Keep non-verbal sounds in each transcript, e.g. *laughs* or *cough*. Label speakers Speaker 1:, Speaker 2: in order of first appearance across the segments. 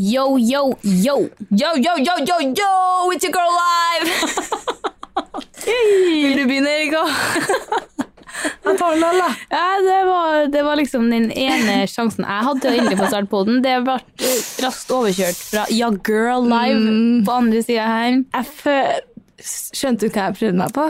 Speaker 1: Yo, yo, yo.
Speaker 2: Yo, yo, yo, yo, yo, it's your girl live!
Speaker 1: *laughs* Vil du begynne, Erika?
Speaker 2: Jeg tar den alle.
Speaker 1: Ja, det, var, det var liksom den ene sjansen jeg hadde egentlig på å starte podden. Det ble eh, raskt overkjørt fra Ja, girl live på andre sida her.
Speaker 2: Jeg fø- Skjønte du hva jeg prøvde meg på?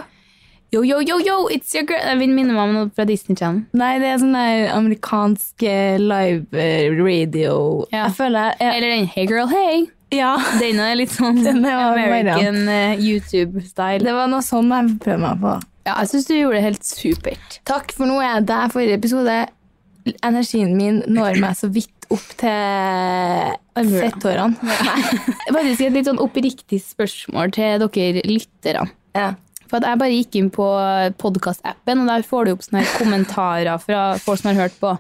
Speaker 1: Yo, yo, yo, yo, it's your girl. Jeg vil minne meg om noe fra Disney Channel.
Speaker 2: Nei, det er sånn der amerikansk eh, live eh, radio
Speaker 1: Ja.
Speaker 2: Jeg føler jeg,
Speaker 1: Eller den Hey girl, hey.
Speaker 2: jeg Ja.
Speaker 1: Denne er litt *laughs* sånn
Speaker 2: Den er jo
Speaker 1: American eh, YouTube-style.
Speaker 2: Det var noe sånn jeg prøvde meg på.
Speaker 1: Ja, jeg syns du gjorde det helt supert.
Speaker 2: Takk for nå er jeg der forrige episode. Energien min når meg så vidt opp til
Speaker 1: Albuene.
Speaker 2: fetthårene.
Speaker 1: Faktisk et litt sånn oppriktig spørsmål til dere lyttere.
Speaker 2: Ja.
Speaker 1: For at jeg bare gikk inn på podkast-appen, og der får du opp sånne her kommentarer fra folk som har hørt på.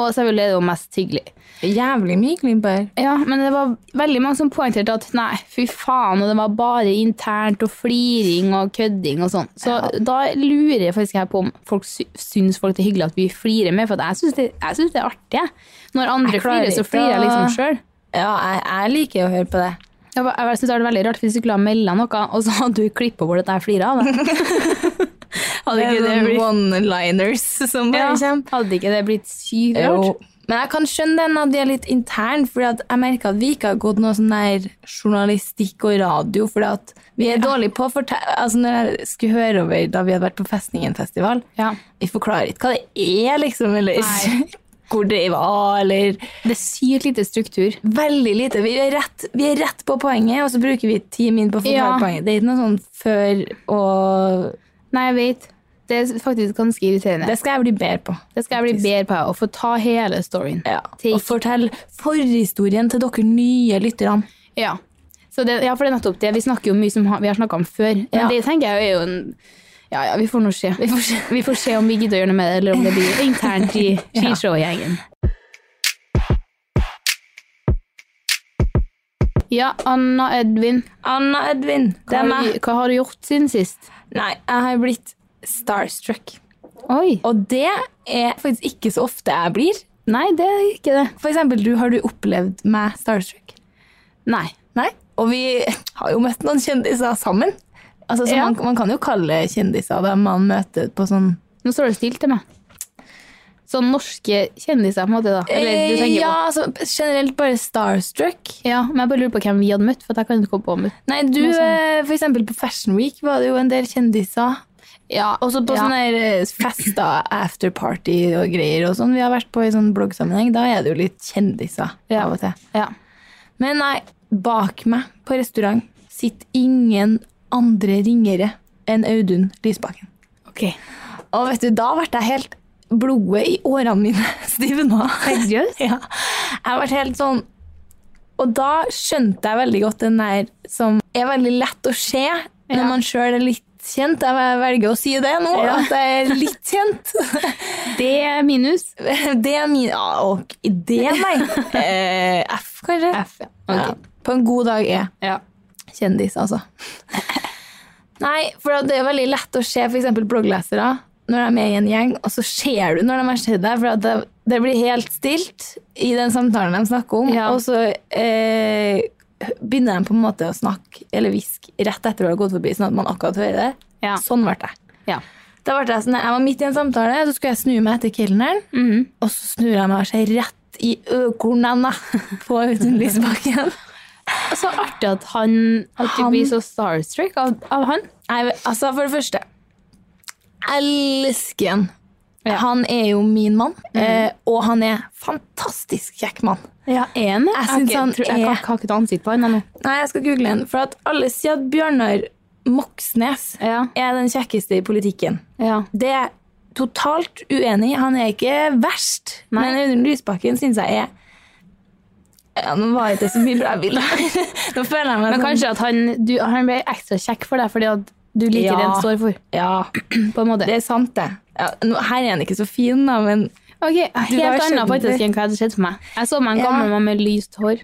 Speaker 1: Og selvfølgelig er det jo mest hyggelig.
Speaker 2: Jævlig mye klimper.
Speaker 1: Ja, men det var veldig mange som poengterte at nei, fy faen, og det var bare internt og fliring og kødding og sånn. Så da lurer jeg faktisk her på om folk sy syns folk det er hyggelig at vi flirer med, for at jeg syns det, jeg syns det er artig. jeg. Når andre
Speaker 2: Jeg klarer
Speaker 1: flirer, så
Speaker 2: ikke
Speaker 1: flirer jeg
Speaker 2: å-
Speaker 1: liksom sjøl.
Speaker 2: Ja, jeg, jeg liker å høre på det.
Speaker 1: Jeg, ba- jeg synes det var veldig rart hvis du skulle ha melda noe, og så hadde du klippa bort at jeg flirer av
Speaker 2: *laughs*
Speaker 1: det. hadde ikke det blitt
Speaker 2: sånn one-liners som
Speaker 1: ja,
Speaker 2: bare kommer.
Speaker 1: Hadde ikke det blitt sykt rart?
Speaker 2: Jo. Men jeg kan skjønne den at de er litt intern, for jeg merker at vi ikke har gått noe sånn der journalistikk og radio, for at vi er dårlige på å fortelle Altså, når jeg skulle høre over da vi hadde vært på Festningenfestival
Speaker 1: Ja.
Speaker 2: Vi forklarer ikke hva det er, liksom, eller
Speaker 1: Nei.
Speaker 2: *laughs* hvor det var, eller
Speaker 1: Det er sykt lite struktur.
Speaker 2: Veldig lite. Vi er rett, vi er rett på poenget, og så bruker vi ti min på å forklare
Speaker 1: Ja.
Speaker 2: poenget. Det er ikke noe sånn før og
Speaker 1: Nei, jeg vet. Det er faktisk ganske irriterende.
Speaker 2: Det skal jeg bli bedre på.
Speaker 1: Det skal jeg bli bedre på, å få ta hele storyen.
Speaker 2: Ja.
Speaker 1: Take-
Speaker 2: Og fortell forhistorien til dere nye lytterne.
Speaker 1: Ja. Så det, ja, for det er nettopp det. Vi snakker jo mye som ha- vi har snakka om før. Men
Speaker 2: Ja.
Speaker 1: det tenker jeg jo er jo en Ja, ja, vi får nå se. Vi får se, *laughs* vi får se om vi gidder å gjøre noe med det, eller om det *laughs* blir internt i skishow-gjengen. Ja, Anna Edvin,
Speaker 2: Anna Edvin,
Speaker 1: hva,
Speaker 2: det er
Speaker 1: har
Speaker 2: meg.
Speaker 1: du, hva har du gjort siden sist?
Speaker 2: Nei, jeg har blitt starstruck.
Speaker 1: Oi!
Speaker 2: Og det er faktisk ikke så ofte jeg blir.
Speaker 1: Nei, det er ikke det.
Speaker 2: For eksempel, du, har du opplevd meg starstruck?
Speaker 1: Nei.
Speaker 2: Nei. Og vi har jo møtt noen kjendiser sammen. Altså, så
Speaker 1: Ja.
Speaker 2: man, man kan jo kalle kjendiser dem man møter på sånn
Speaker 1: Nå står det stille til meg. Sånn norske kjendiser, på en måte, da. Eller du
Speaker 2: Eh,
Speaker 1: tenker
Speaker 2: Ja, altså, generelt bare starstruck.
Speaker 1: på Ja, men jeg bare lurer på hvem vi hadde møtt, for at jeg kan ikke komme på om
Speaker 2: Nei, du,
Speaker 1: Noe sånt.
Speaker 2: eh, for eksempel på Fashion Week var det jo en del kjendiser.
Speaker 1: Ja,
Speaker 2: Også på sånne her, eh, fester, afterparty og greier og sånn. Vi har vært på i sånn bloggsammenheng. Da er det jo litt kjendiser
Speaker 1: Ja.
Speaker 2: av og til.
Speaker 1: ja.
Speaker 2: Men nei, bak meg på restaurant sitter ingen andre ringere enn Audun Lysbakken.
Speaker 1: Ok.
Speaker 2: Og vet du, da ble jeg helt blodet i årene mine *laughs* stivna.
Speaker 1: Seriøst?
Speaker 2: ja. Jeg ble helt sånn Og da skjønte jeg veldig godt den der som er veldig lett å se når
Speaker 1: Ja.
Speaker 2: man sjøl er litt kjent. Jeg velger å si det nå,
Speaker 1: Ja.
Speaker 2: at jeg er litt kjent.
Speaker 1: Det er minus.
Speaker 2: *laughs* Det er min ja, Og det, *laughs* nei. Eh, F, kanskje.
Speaker 1: F, ja.
Speaker 2: Ja. På en god dag er
Speaker 1: Ja.
Speaker 2: kjendis, altså. *laughs* Nei, for det er veldig lett å se f.eks. blogglesere når de er i en gjeng, og så ser du når de har sett deg, for at det, det blir helt stilt i den samtalen de snakker om,
Speaker 1: Ja.
Speaker 2: og så eh, begynner de på en måte å snakke eller hviske rett etter å ha gått forbi, sånn at man akkurat hører det.
Speaker 1: Ja.
Speaker 2: Sånn ble det.
Speaker 1: Ja.
Speaker 2: Da ble jeg sånn, jeg var midt i en samtale, så skulle jeg snu meg etter kelneren,
Speaker 1: Mhm.
Speaker 2: og så snur jeg meg og ser rett i økornene *laughs* på Audun Lysbakken.
Speaker 1: Så artig at han At du
Speaker 2: Han-
Speaker 1: blir så starstruck av, av han.
Speaker 2: Nei, altså for det første Elsker han.
Speaker 1: Ja. Mhm.
Speaker 2: Han er jo min mann, eh, og han er fantastisk kjekk mann.
Speaker 1: Ja, er han det?
Speaker 2: Jeg
Speaker 1: Jeg,
Speaker 2: synes
Speaker 1: har
Speaker 2: han
Speaker 1: ikke- tror- jeg
Speaker 2: er-
Speaker 1: har ikke- har ikke et ansikt på han ennå.
Speaker 2: Nei, jeg skal google han, for at alle sier at Bjørnar Moxnes
Speaker 1: Ja.
Speaker 2: er den kjekkeste i politikken.
Speaker 1: Ja.
Speaker 2: Det er jeg totalt uenig i. Han er ikke verst,
Speaker 1: Nei.
Speaker 2: men Audun Lysbakken syns jeg er ja, Nå var ikke det så mye bra bilder *laughs* her. Nå føler jeg meg
Speaker 1: Men
Speaker 2: sånn-
Speaker 1: kanskje at han, du, han ble ekstra kjekk for deg fordi at du liker
Speaker 2: Ja.
Speaker 1: det han står for.
Speaker 2: Ja,
Speaker 1: På en måte.
Speaker 2: det er sant, det. Ja, nå- her er han ikke så fin, da, men
Speaker 1: Ok,
Speaker 2: har
Speaker 1: Helt
Speaker 2: sett
Speaker 1: annet
Speaker 2: den
Speaker 1: faktisk
Speaker 2: før.
Speaker 1: enn hva jeg hadde sett for meg. Jeg så meg en
Speaker 2: Ja.
Speaker 1: gammel mann med lyst hår.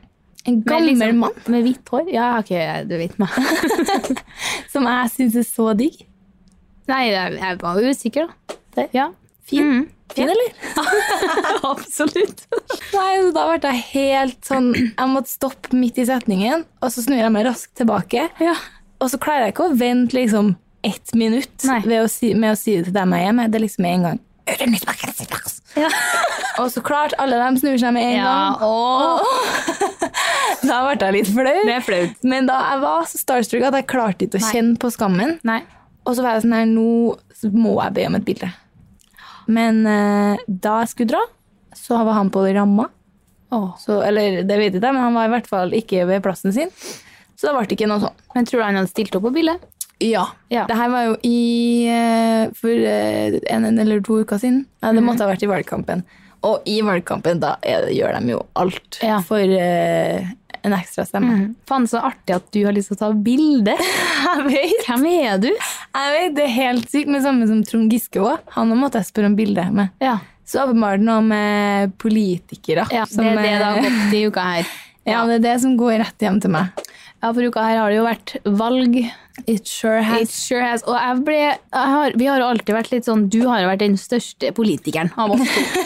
Speaker 2: en
Speaker 1: Med
Speaker 2: gammel
Speaker 1: liksom-
Speaker 2: mann.
Speaker 1: Med hvitt hår. Ja, ok, du vet meg.
Speaker 2: *laughs* Som jeg syns er så digg.
Speaker 1: Nei, jeg, jeg var usikker, da.
Speaker 2: *laughs* Det?
Speaker 1: Mm. Ja.
Speaker 2: Fin. Fin, eller?
Speaker 1: Absolutt.
Speaker 2: Nei, så da ble jeg helt sånn Jeg måtte stoppe midt i setningen, og så snur jeg meg raskt tilbake.
Speaker 1: Ja.
Speaker 2: Og så klarer jeg ikke å vente liksom ett minutt
Speaker 1: Nei.
Speaker 2: ved å si, med å si det til dem jeg er med. Det er liksom med en gang. Og så klart, alle dem snur seg med en
Speaker 1: Ja,
Speaker 2: gang. Da ble jeg litt flau.
Speaker 1: Det er flaut.
Speaker 2: Men da jeg var så starstruck at jeg klarte ikke å
Speaker 1: Nei.
Speaker 2: kjenne på skammen.
Speaker 1: Nei.
Speaker 2: Og så var jeg sånn her, nå så må jeg be om et bilde. Men eh, da jeg skulle dra, så var han på ramma. Så, eller det vet jeg ikke, men han var i hvert fall ikke ved plassen sin. Så da ble det ikke noe sånn.
Speaker 1: Men tror du han hadde stilt opp på bildet?
Speaker 2: Ja.
Speaker 1: Ja.
Speaker 2: Det her var jo i eh, for eh, en, en eller to uker siden. Nei,
Speaker 1: Mhm.
Speaker 2: det måtte ha vært i valgkampen. Og i valgkampen, da er, det- gjør de jo alt
Speaker 1: Ja. Mhm.
Speaker 2: for eh, en ekstra stemme.
Speaker 1: Faen, så artig at du har lyst til å ta *laughs* bilde.
Speaker 2: Jeg vet,
Speaker 1: Hvem er du?
Speaker 2: jeg vet, det er helt sykt. Men samme som Trond Giske òg. Han måtte jeg spørre om bilde med.
Speaker 1: Ja,
Speaker 2: Så åpenbart noe med politikere. som,
Speaker 1: Det er det det har
Speaker 2: eh,
Speaker 1: gått i uka her.
Speaker 2: Ja, det er det som går rett hjem til meg.
Speaker 1: *laughs* Ja, for uka her har det jo vært valg.
Speaker 2: It sure
Speaker 1: It sure has. Og jeg ble, jeg har, vi har jo alltid vært litt sånn Du har jo vært den største politikeren av oss *laughs* to.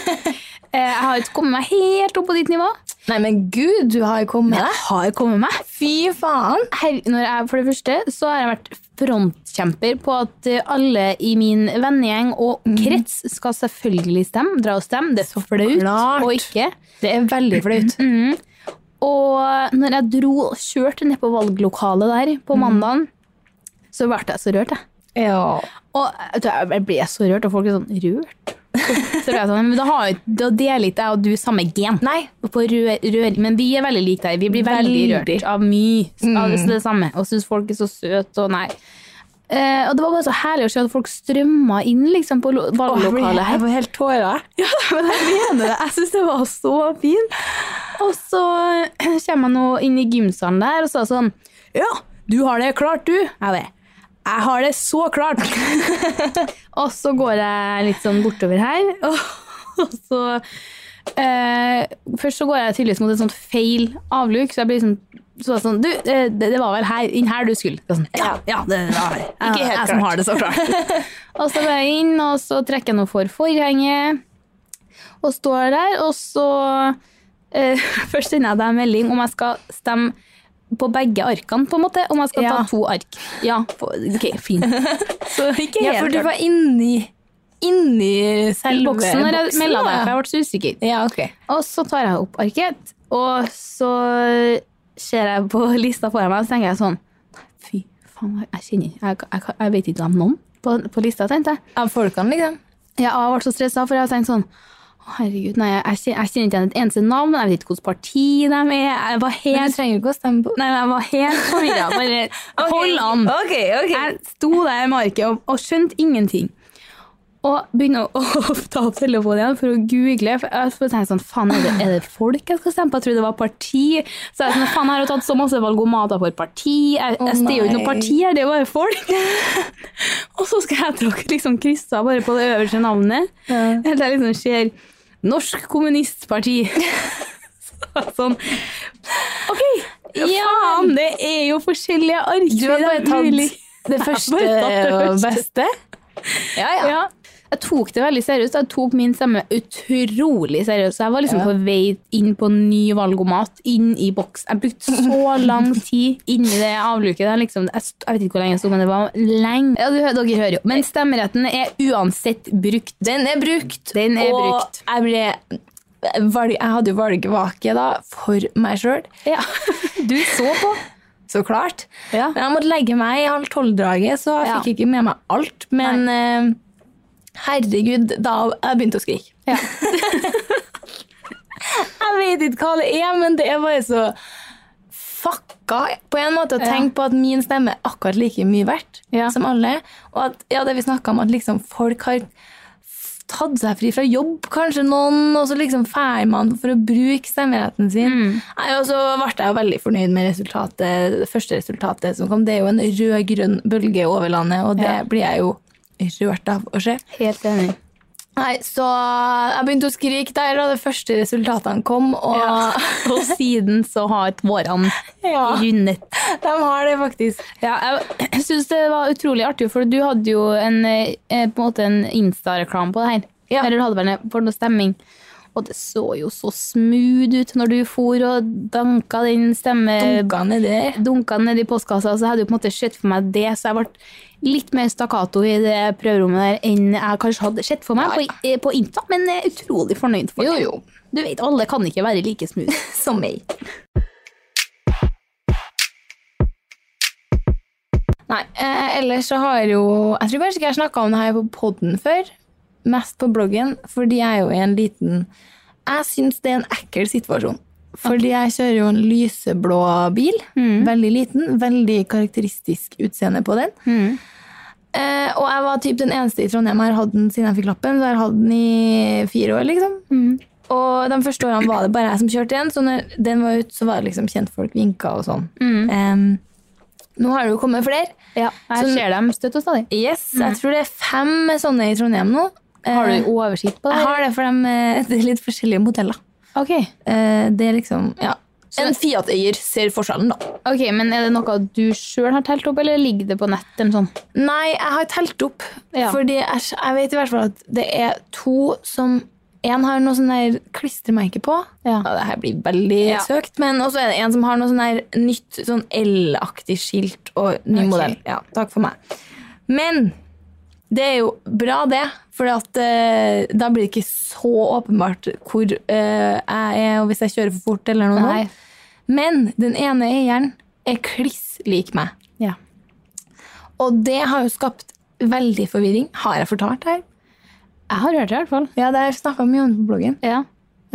Speaker 1: Eh, Jeg har ikke kommet meg helt opp på ditt nivå.
Speaker 2: Nei, men gud, du har jo kommet
Speaker 1: Jeg
Speaker 2: deg.
Speaker 1: har kommet meg.
Speaker 2: Fy faen!
Speaker 1: Her, når jeg, for det første så har jeg vært frontkjemper på at eh, alle i min vennegjeng og krets skal selvfølgelig stemme. Dra og stemme. Det er flaut
Speaker 2: klart.
Speaker 1: og ikke.
Speaker 2: Det er veldig flaut.
Speaker 1: Mm. Og når jeg dro og kjørte ned på valglokalet der på mandagen, så ble jeg så rørt, jeg.
Speaker 2: Ja.
Speaker 1: Og jeg tror jeg- jeg ble så rørt, og folk er sånn rørt. Så ble jeg sånn, men da, har, jo- da deler ikke jeg og du samme gen.
Speaker 2: Nei.
Speaker 1: Og På rør, rør, men vi er veldig like der. Vi blir veldig,
Speaker 2: Veldig. Mm.
Speaker 1: rørt av mye av det, det samme. Og syns folk er så søte og nei. Eh, og det var bare så herlig å se at folk strømma inn liksom, på lo- valglokalet her.
Speaker 2: Jeg får helt tårer.
Speaker 1: Ja, *laughs* men jeg mener det. Jeg syns det var så fint. Og så eh, kommer jeg nå inn i gymsalen der og sa sånn Ja, du har det klart, du. Jeg det. Jeg har det så klart. *laughs* og så går jeg litt sånn bortover her, *laughs* og, og så eh, Først så går jeg tydeligvis mot et sånt feil avluk, så jeg blir sånn så var det sånn, du, eh, det, det var vel her, inn her du skulle. Jeg var Sånn, ja, ja, det var her. Jeg,
Speaker 2: Ikke helt
Speaker 1: jeg som
Speaker 2: klart.
Speaker 1: har det så klart. og så går jeg inn, og så trekker jeg noe for forhenget og står der, og så eh, *laughs* Først sender jeg deg en melding om jeg skal stemme på begge arkene, på en måte. Om jeg skal
Speaker 2: Ja.
Speaker 1: ta to ark. Ja, på, ok,
Speaker 2: *laughs*
Speaker 1: fint. Så ikke
Speaker 2: Ja, for du var inni, inni selve
Speaker 1: boksen når jeg
Speaker 2: boksen,
Speaker 1: melda meg,
Speaker 2: da.
Speaker 1: for jeg ble så usikker.
Speaker 2: Ja, ok.
Speaker 1: Og så tar jeg opp arket, og så ser jeg på *laughs* lista foran meg, og så tenker jeg sånn Fy faen, jeg kjenner Jeg, jeg, jeg vet ikke om noen på, på lista, tenkte jeg.
Speaker 2: Av folkene, liksom.
Speaker 1: Ja, jeg ble så stressa, for jeg tenkte sånn «Å, Herregud, nei, jeg, kjen- jeg kjenner ikke igjen et eneste navn. Jeg vet ikke hvilket parti de er. Jeg var helt,
Speaker 2: trenger ikke å stemme på.
Speaker 1: nei, jeg var helt forvirra. Bare hold an.
Speaker 2: *laughs* Ok, ok.
Speaker 1: Jeg sto der i markedet og, og skjønte ingenting. Og begynner å, *laughs* å ta opp telefonen igjen for å google. For jeg for å tenke sånn, faen, er det, er det folk jeg skal stemme på? Jeg trodde det var parti. Så jeg er sånn, faen, jeg har jo tatt så masse valgomater for parti. Jeg,
Speaker 2: Å,
Speaker 1: jeg stiller jo ikke
Speaker 2: nei.
Speaker 1: noe parti her, det er jo bare folk. *laughs* og så skal jeg tråkke liksom krysser bare på det øverste navnet.
Speaker 2: Ja.
Speaker 1: Helt til jeg liksom ser Norsk *laughs* Kommunistparti. Så sånn, ok,
Speaker 2: Ja.
Speaker 1: faen, det er jo forskjellige ark.
Speaker 2: Du har
Speaker 1: det
Speaker 2: bare
Speaker 1: er mulig.
Speaker 2: tatt det første
Speaker 1: Jeg har bare
Speaker 2: og
Speaker 1: tatt det
Speaker 2: beste. Ja, ja.
Speaker 1: Ja. Jeg tok det veldig seriøst. Jeg tok min stemme utrolig seriøst. Jeg var liksom
Speaker 2: Ja.
Speaker 1: på vei inn på ny valgomat, inn i boks. Jeg brukte så *laughs* lang tid inni det avluket. Der, liksom. jeg, st- jeg vet ikke hvor lenge jeg sto, men det var lenge. Ja, du, hø- dere hører jo. Men stemmeretten er uansett brukt.
Speaker 2: Den er brukt.
Speaker 1: Den er
Speaker 2: og
Speaker 1: brukt.
Speaker 2: jeg ble... valg- Jeg hadde jo valgvake da, for meg selv.
Speaker 1: Ja. *laughs* Du så på.
Speaker 2: Så klart.
Speaker 1: Ja.
Speaker 2: Men jeg måtte legge meg i halv tolv-draget, så jeg
Speaker 1: Ja.
Speaker 2: fikk ikke med meg alt. Men eh, herregud, da jeg begynte å skrike.
Speaker 1: Ja.
Speaker 2: Jeg vet ikke hva det er, men det er bare så fucka på en måte å
Speaker 1: Ja.
Speaker 2: tenke på at min stemme er akkurat like mye verdt
Speaker 1: Ja.
Speaker 2: som alle. Og at ja, det vi snakka om, at liksom folk har f- tatt seg fri fra jobb, kanskje noen, og så liksom drar man for å bruke stemmeretten sin.
Speaker 1: Mm.
Speaker 2: Nei, og så ble jeg jo veldig fornøyd med resultatet, det første resultatet som kom. Det er jo en rød-grønn bølge over landet, og det
Speaker 1: Ja.
Speaker 2: blir jeg jo rørt av å se.
Speaker 1: Helt enig.
Speaker 2: Nei, så jeg begynte å skrike der da de første resultatene kom, og *laughs*
Speaker 1: *laughs* Og siden så har tårene
Speaker 2: Ja.
Speaker 1: rundet.
Speaker 2: *laughs* de har det faktisk.
Speaker 1: Ja, *clears throat* jeg syns det var utrolig artig, for du hadde jo en, eh, på en, måte en Insta-reklame på det her.
Speaker 2: Ja.
Speaker 1: Eller rullebandet for noe stemming. Og det så jo så smooth ut når du for og danka den stemme...
Speaker 2: Dunka nedi der.
Speaker 1: Dunka ned i postkassa, så jeg hadde jo på en måte sett for meg det, så jeg ble litt mer stakkato i det prøverommet der enn jeg kanskje hadde sett for meg på, eh, på Insta, men jeg er utrolig fornøyd for det.
Speaker 2: Jo, jo.
Speaker 1: Du vet, alle kan ikke være like *laughs* smooth.
Speaker 2: Som meg. Nei, eh, ellers så har jo Jeg tror kanskje ikke jeg snakka om det her på podden før. Mest på bloggen, fordi jeg er jo i en liten Jeg syns det er en ekkel situasjon. Fordi jeg kjører jo en lyseblå bil. Veldig liten. Veldig karakteristisk utseende på den.
Speaker 1: Mm.
Speaker 2: Eh, og jeg var typ den eneste i Trondheim jeg har hatt den siden jeg fikk lappen. Så jeg har hatt den i fire år, liksom.
Speaker 1: Mm.
Speaker 2: Og de første årene var det bare jeg som kjørte igjen, så når den var ut, så var det liksom kjentfolk vinka og sånn.
Speaker 1: Mm.
Speaker 2: Em, nå har det jo kommet flere.
Speaker 1: Ja, jeg
Speaker 2: Så-
Speaker 1: ser dem støtt og stadig.
Speaker 2: Yes, jeg tror det er fem sånne i Trondheim nå.
Speaker 1: Har
Speaker 2: Eh,
Speaker 1: du oversikt på det?
Speaker 2: Jeg har det, for dem, eh, *laughs* det er litt forskjellige modeller.
Speaker 1: Ok.
Speaker 2: Eh, det er liksom, ja.
Speaker 1: En
Speaker 2: Fiat-eier ser forskjellen, da.
Speaker 1: Ok, men Er det noe du sjøl har telt opp, eller ligger det på sånn? nett? eller noe sånt?
Speaker 2: Nei, jeg har telt opp.
Speaker 1: Ja.
Speaker 2: Fordi jeg, jeg vet i hvert fall at det er to som En har noe sånn der klistremerke på.
Speaker 1: Ja.
Speaker 2: det her blir veldig
Speaker 1: Ja.
Speaker 2: søkt. Men også er det en som har noe sånn der nytt sånn L-aktig skilt og ny
Speaker 1: Ok.
Speaker 2: modell. Ja, takk for meg. Men det er jo bra, det. For at, eh, da blir det ikke så åpenbart hvor eh, jeg er, og hvis jeg kjører for fort eller noe
Speaker 1: Nei.
Speaker 2: sånt. Men den ene eieren er kliss lik meg.
Speaker 1: Ja.
Speaker 2: Og det har jo skapt veldig forvirring. Har jeg fortalt det her?
Speaker 1: Jeg har hørt det, i hvert fall.
Speaker 2: Ja, det har jeg snakka mye om på bloggen.
Speaker 1: Ja.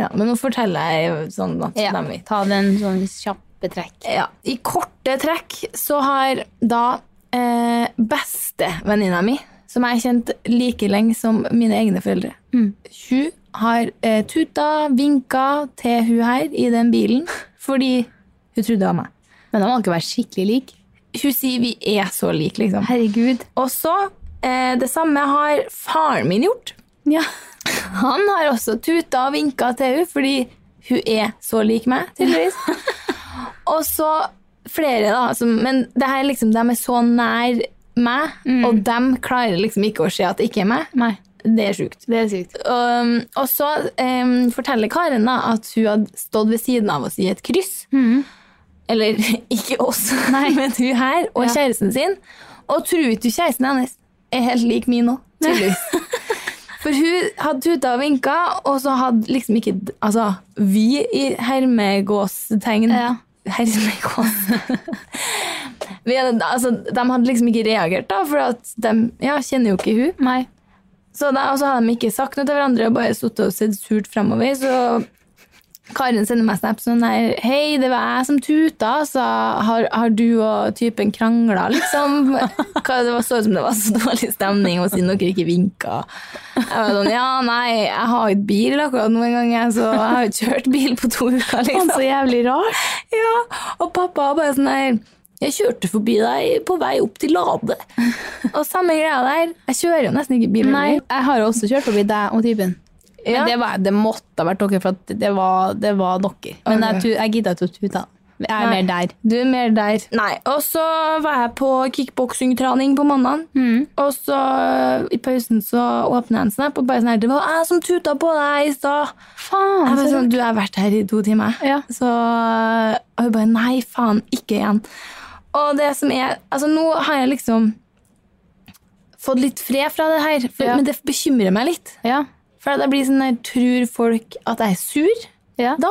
Speaker 2: Ja, men nå forteller jeg jo sånn at de vet.
Speaker 1: Ta den sånn kjappe trekk.
Speaker 2: Ja, I korte trekk så har da eh, bestevenninna mi, som jeg har kjent like lenge som mine egne foreldre Hun har eh, tuta, vinka til hun her i den bilen fordi hun trodde det var meg.
Speaker 1: Men de må ikke være skikkelig like.
Speaker 2: Hun sier vi er så like, liksom.
Speaker 1: Herregud.
Speaker 2: Og så eh, Det samme har faren min gjort.
Speaker 1: Ja.
Speaker 2: Han har også tuta og vinka til henne, fordi hun er så lik meg, tydeligvis. og så flere, da. Som, men det her liksom, de er så nær meg, og de klarer liksom ikke å se at det ikke er meg.
Speaker 1: Nei,
Speaker 2: Det er sjukt.
Speaker 1: det er sykt.
Speaker 2: Um, og så um, forteller Karen da at hun hadde stått ved siden av oss i et kryss.
Speaker 1: Mm.
Speaker 2: Eller *laughs* ikke oss, men hun her og
Speaker 1: Ja.
Speaker 2: kjæresten sin. Og tror ikke kjæresten hennes er helt lik min nå,
Speaker 1: *laughs*
Speaker 2: tydeligvis. For hun hadde tuta og vinka, og så hadde liksom ikke Altså, vi i hermegåstegn
Speaker 1: Ja. *laughs*
Speaker 2: Hermegås vi hadde, altså, De hadde liksom ikke reagert, da, for at de ja, kjenner jo ikke hun.
Speaker 1: Nei.
Speaker 2: Så da, og så hadde de ikke sagt noe til hverandre og bare sittet og sett surt fremover. Så Karin sender meg snap sånn her Hei, det var jeg som tuta, så har, har du og typen krangla, liksom? *laughs* Hva, det var så ut som det var så dårlig stemning, og siden dere ikke vinka. Jeg var sånn Ja, nei, jeg har ikke bil akkurat nå engang, jeg, så jeg har ikke kjørt bil på to uker, liksom.
Speaker 1: jævlig
Speaker 2: *laughs*
Speaker 1: rart.
Speaker 2: Ja, og pappa var bare sånn der Jeg kjørte forbi deg på vei opp til Lade. Og samme greia der. Jeg kjører jo nesten ikke bil.
Speaker 1: Nei, jeg har jo også kjørt forbi deg og typen. Men
Speaker 2: Ja.
Speaker 1: det, var, det måtte ha vært dere, for at det var, det var dere. Men
Speaker 2: Ok.
Speaker 1: jeg, tu- jeg gidda ikke å tute. Jeg er
Speaker 2: Nei.
Speaker 1: mer der.
Speaker 2: Du er mer der. Nei, Og så var jeg på kickboksingtrening på mandag. Og så i pausen så åpner jeg en snap og bare sånn her Det var jeg som tuta på deg i stad. Jeg
Speaker 1: Faen,
Speaker 2: bare sånn, Du jeg har vært her i to timer.
Speaker 1: Ja.
Speaker 2: Så og hun bare Nei, faen, ikke igjen. Og det som er Altså, nå har jeg liksom fått litt fred fra det her, for,
Speaker 1: Ja.
Speaker 2: men det bekymrer meg litt.
Speaker 1: Ja.
Speaker 2: For at jeg blir sånn der Tror folk at jeg er sur
Speaker 1: ja.
Speaker 2: da?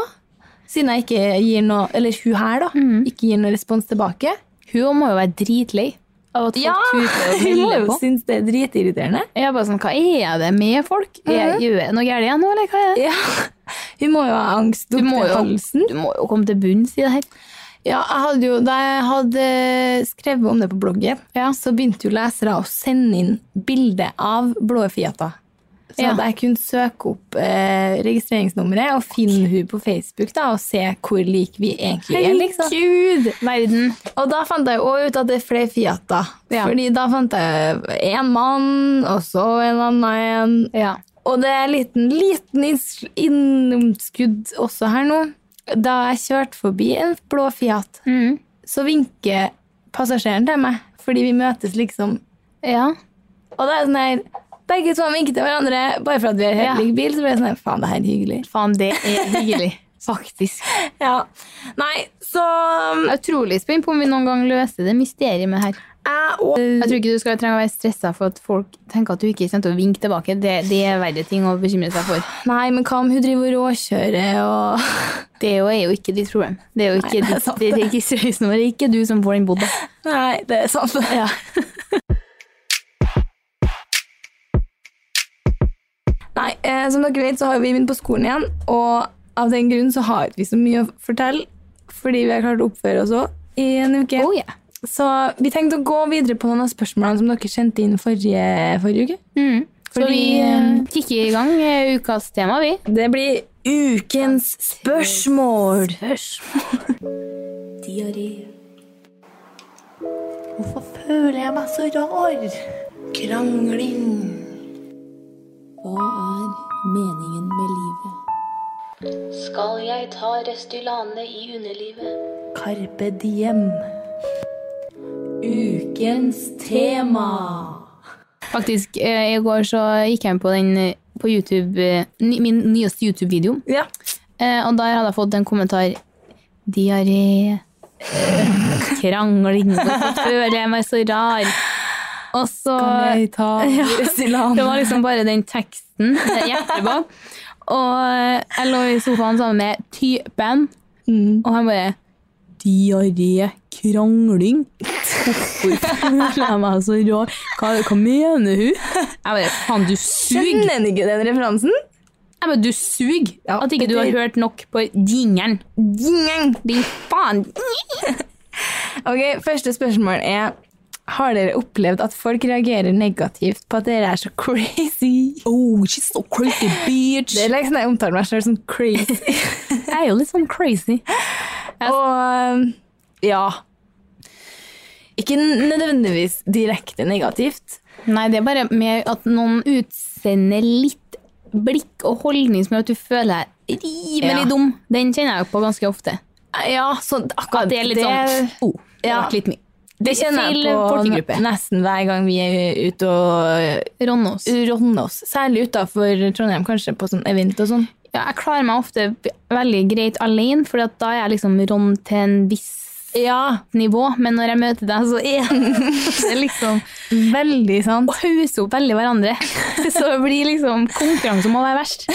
Speaker 2: Siden jeg ikke gir noe Eller hun her, da. Ikke gir noe respons tilbake.
Speaker 1: Hun må jo være dritlei av at folk
Speaker 2: Ja,
Speaker 1: tuter og
Speaker 2: *laughs* hun må
Speaker 1: melder
Speaker 2: jo
Speaker 1: på.
Speaker 2: synes det er dritirriterende.
Speaker 1: Jeg er bare sånn, Hva er det med folk? Er,
Speaker 2: Mhm.
Speaker 1: Gjør jeg noe galt igjen nå, eller hva er det?
Speaker 2: Ja. *laughs* Hun må jo ha angst
Speaker 1: Du
Speaker 2: opp
Speaker 1: må,
Speaker 2: til
Speaker 1: jo,
Speaker 2: halsen.
Speaker 1: du må jo komme til bunns i det her.
Speaker 2: Ja, jeg hadde jo, da jeg hadde skrevet om det på bloggen,
Speaker 1: Ja.
Speaker 2: så begynte jo lesere å sende inn bilde av blå Fiater. Så
Speaker 1: Ja.
Speaker 2: at jeg kunne søke opp eh, registreringsnummeret og finne hun på Facebook da, og se hvor lik vi egentlig er. liksom.
Speaker 1: Herregud! Verden.
Speaker 2: Og da fant jeg jo også ut at det er flere Fiater.
Speaker 1: Ja.
Speaker 2: Fordi da fant jeg en mann, og så en annen en.
Speaker 1: Ja.
Speaker 2: Og det er en liten, liten inns- innskudd også her nå. Da jeg kjørte forbi en blå Fiat,
Speaker 1: Mm.
Speaker 2: så vinker passasjeren til meg, fordi vi møtes liksom.
Speaker 1: ja.
Speaker 2: Og da er jeg sånn her Begge to vinker til hverandre bare for at vi har
Speaker 1: Ja.
Speaker 2: helt lik bil. Så blir det sånn Faen, det her er hyggelig.
Speaker 1: Faen, det er
Speaker 2: *laughs*
Speaker 1: hyggelig. Faktisk.
Speaker 2: Ja. Nei, så um,
Speaker 1: Jeg er utrolig spent på om vi noen gang løser det mysteriet med det her.
Speaker 2: jeg og
Speaker 1: Jeg tror ikke du skal trenge å være stressa for at folk tenker at du ikke kommer til å vinke tilbake. Det, det er verre ting å bekymre seg for.
Speaker 2: Nei, men hva om hun driver og råkjører og *laughs*
Speaker 1: Det er jo, er jo ikke ditt problem. Det er jo ikke,
Speaker 2: Nei, det er
Speaker 1: ditt,
Speaker 2: sant.
Speaker 1: det er ikke seriøst Det er ikke du som får den bodda.
Speaker 2: Nei, det er sant. Ja. Nei, eh, som dere vet, så har vi begynt på skolen igjen, og av den grunn så har vi ikke så mye å fortelle, fordi vi har klart å oppføre oss òg i en uke.
Speaker 1: Oh, yeah.
Speaker 2: Så vi tenkte å gå videre på noen av spørsmålene som dere sendte inn forrige, forrige uke.
Speaker 1: mm. Så
Speaker 2: Fordi,
Speaker 1: vi eh, kikker i gang eh, ukas tema, vi.
Speaker 2: Det blir ukens spørsmål.
Speaker 3: Diaré. Hvorfor føler jeg meg så rar? Krangling. Hva er meningen med livet?
Speaker 4: Skal jeg ta Restylane i underlivet?
Speaker 3: Carpe diem. Ukens tema.
Speaker 1: Faktisk, eh, i går så gikk jeg inn på den eh, på YouTube, eh, ny- min nyeste YouTube-video.
Speaker 2: Ja.
Speaker 1: Eh, og der hadde jeg fått en kommentar. Diaré. *laughs* Krangling. Hvorfor føler jeg meg så rar? Og så
Speaker 2: *laughs* ja.
Speaker 1: Det var liksom bare den teksten det hjertet på. Og jeg lå i sofaen sammen med typen,
Speaker 2: Mm.
Speaker 1: og han bare Diaré, krangling? Hvorfor føler jeg meg så rar? Hva, hva mener hun? Jeg bare Faen, du suger!
Speaker 2: Skjønner han ikke den referansen?
Speaker 1: Jeg bare, du suger!
Speaker 2: Ja,
Speaker 1: At ikke du har
Speaker 2: det-
Speaker 1: hørt nok på jingeren.
Speaker 2: Gjeng!
Speaker 1: Din faen!
Speaker 2: Ok, Første spørsmål er Har dere opplevd at folk reagerer negativt på at dere er så crazy?
Speaker 1: Oh, she's so crazy, bitch!
Speaker 2: Det er liksom Jeg omtaler meg selv som
Speaker 1: *laughs*
Speaker 2: crazy.
Speaker 1: Jeg er jo litt sånn crazy.
Speaker 2: Og um, ja Ikke nødvendigvis direkte negativt.
Speaker 1: Nei, det er bare med at noen utsender litt blikk og holdning som gjør at du føler deg rimelig
Speaker 2: Ja.
Speaker 1: dum. Den kjenner jeg jo på ganske ofte.
Speaker 2: Ja, sånn akkurat
Speaker 1: At det er litt sånn oh, det
Speaker 2: ja.
Speaker 1: ble litt mye.
Speaker 2: Det kjenner
Speaker 1: Feil
Speaker 2: jeg på
Speaker 1: folkegruppe.
Speaker 2: nesten hver gang vi er ute og
Speaker 1: Ronnås.
Speaker 2: ronner oss. Særlig utafor Trondheim, kanskje, på sånn event og sånn.
Speaker 1: Ja, jeg klarer meg ofte v- veldig greit alene, for at da er jeg liksom ronn til en viss
Speaker 2: Ja,
Speaker 1: nivå, men når jeg møter deg, så er *laughs* det liksom
Speaker 2: veldig sant.
Speaker 1: å hause opp veldig hverandre. *laughs* Så det blir liksom konkurranse om å være verst.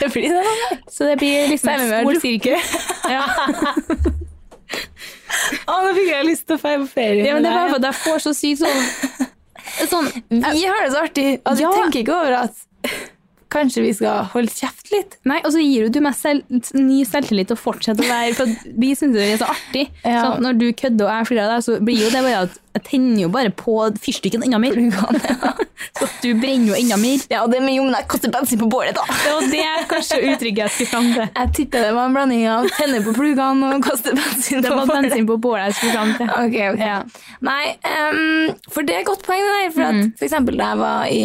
Speaker 2: Det blir det, *laughs* da.
Speaker 1: Så det blir liksom
Speaker 2: Særlig
Speaker 1: en stor
Speaker 2: når du-
Speaker 1: sirkel. *laughs* Ja.
Speaker 2: Å, nå fikk jeg lyst til å dra på ferie.
Speaker 1: ja, men det er
Speaker 2: med
Speaker 1: bare for
Speaker 2: deg.
Speaker 1: at jeg får så sykt sånn, sånn
Speaker 2: Vi har det så artig at
Speaker 1: Ja.
Speaker 2: vi tenker ikke over at kanskje vi skal holde kjeft litt.
Speaker 1: Nei, og så gir jo du meg selv, ny selvtillit og fortsetter å være For at vi syns det er så artig.
Speaker 2: Ja.
Speaker 1: Så at når du kødder og jeg flirer av deg, så blir jo det bare at jeg tenner jo bare på fyrstikken enda mer. *laughs* så at du brenner jo enda mer.
Speaker 2: Ja, og det med jo, men jeg kaster bensin på bålet, da.
Speaker 1: Det var det kanskje uttrykket jeg skulle fram til.
Speaker 2: Jeg tipper det var en blanding av tenne på plugene og kaste bensin
Speaker 1: Det
Speaker 2: på
Speaker 1: var
Speaker 2: bålet.
Speaker 1: bensin på bålet jeg skulle fram til.
Speaker 2: Ok, ok.
Speaker 1: Ja.
Speaker 2: Nei, ehm, for det er et godt poeng, det der. For, at, for eksempel da jeg var i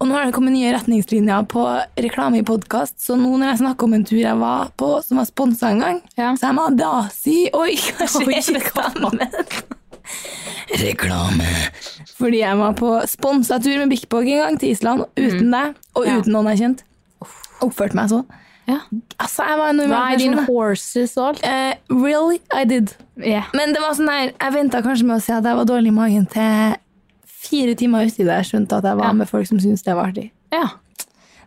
Speaker 2: Og nå har det kommet nye retningslinjer på reklame i podkast, så nå når jeg snakker om en tur jeg var på som var sponsa en gang,
Speaker 1: Ja.
Speaker 2: så jeg må da si Oi, kanskje
Speaker 1: Oi,
Speaker 2: reklame. Reklame. Fordi jeg var på sponsa tur med Big Bog en gang til Island, uten deg og
Speaker 1: Mm. Ja.
Speaker 2: uten noen jeg kjente. Oppførte meg sånn.
Speaker 1: Ja.
Speaker 2: Altså, jeg var en normal
Speaker 1: Ride in
Speaker 2: person. da.
Speaker 1: horses og alt.
Speaker 2: Eh, really, I did.
Speaker 1: Ja.
Speaker 2: Men det var sånn der, jeg venta kanskje med å si at jeg var dårlig i magen til fire timer uti da jeg skjønte at jeg var
Speaker 1: Ja.
Speaker 2: med folk som syntes det var artig.
Speaker 1: ja.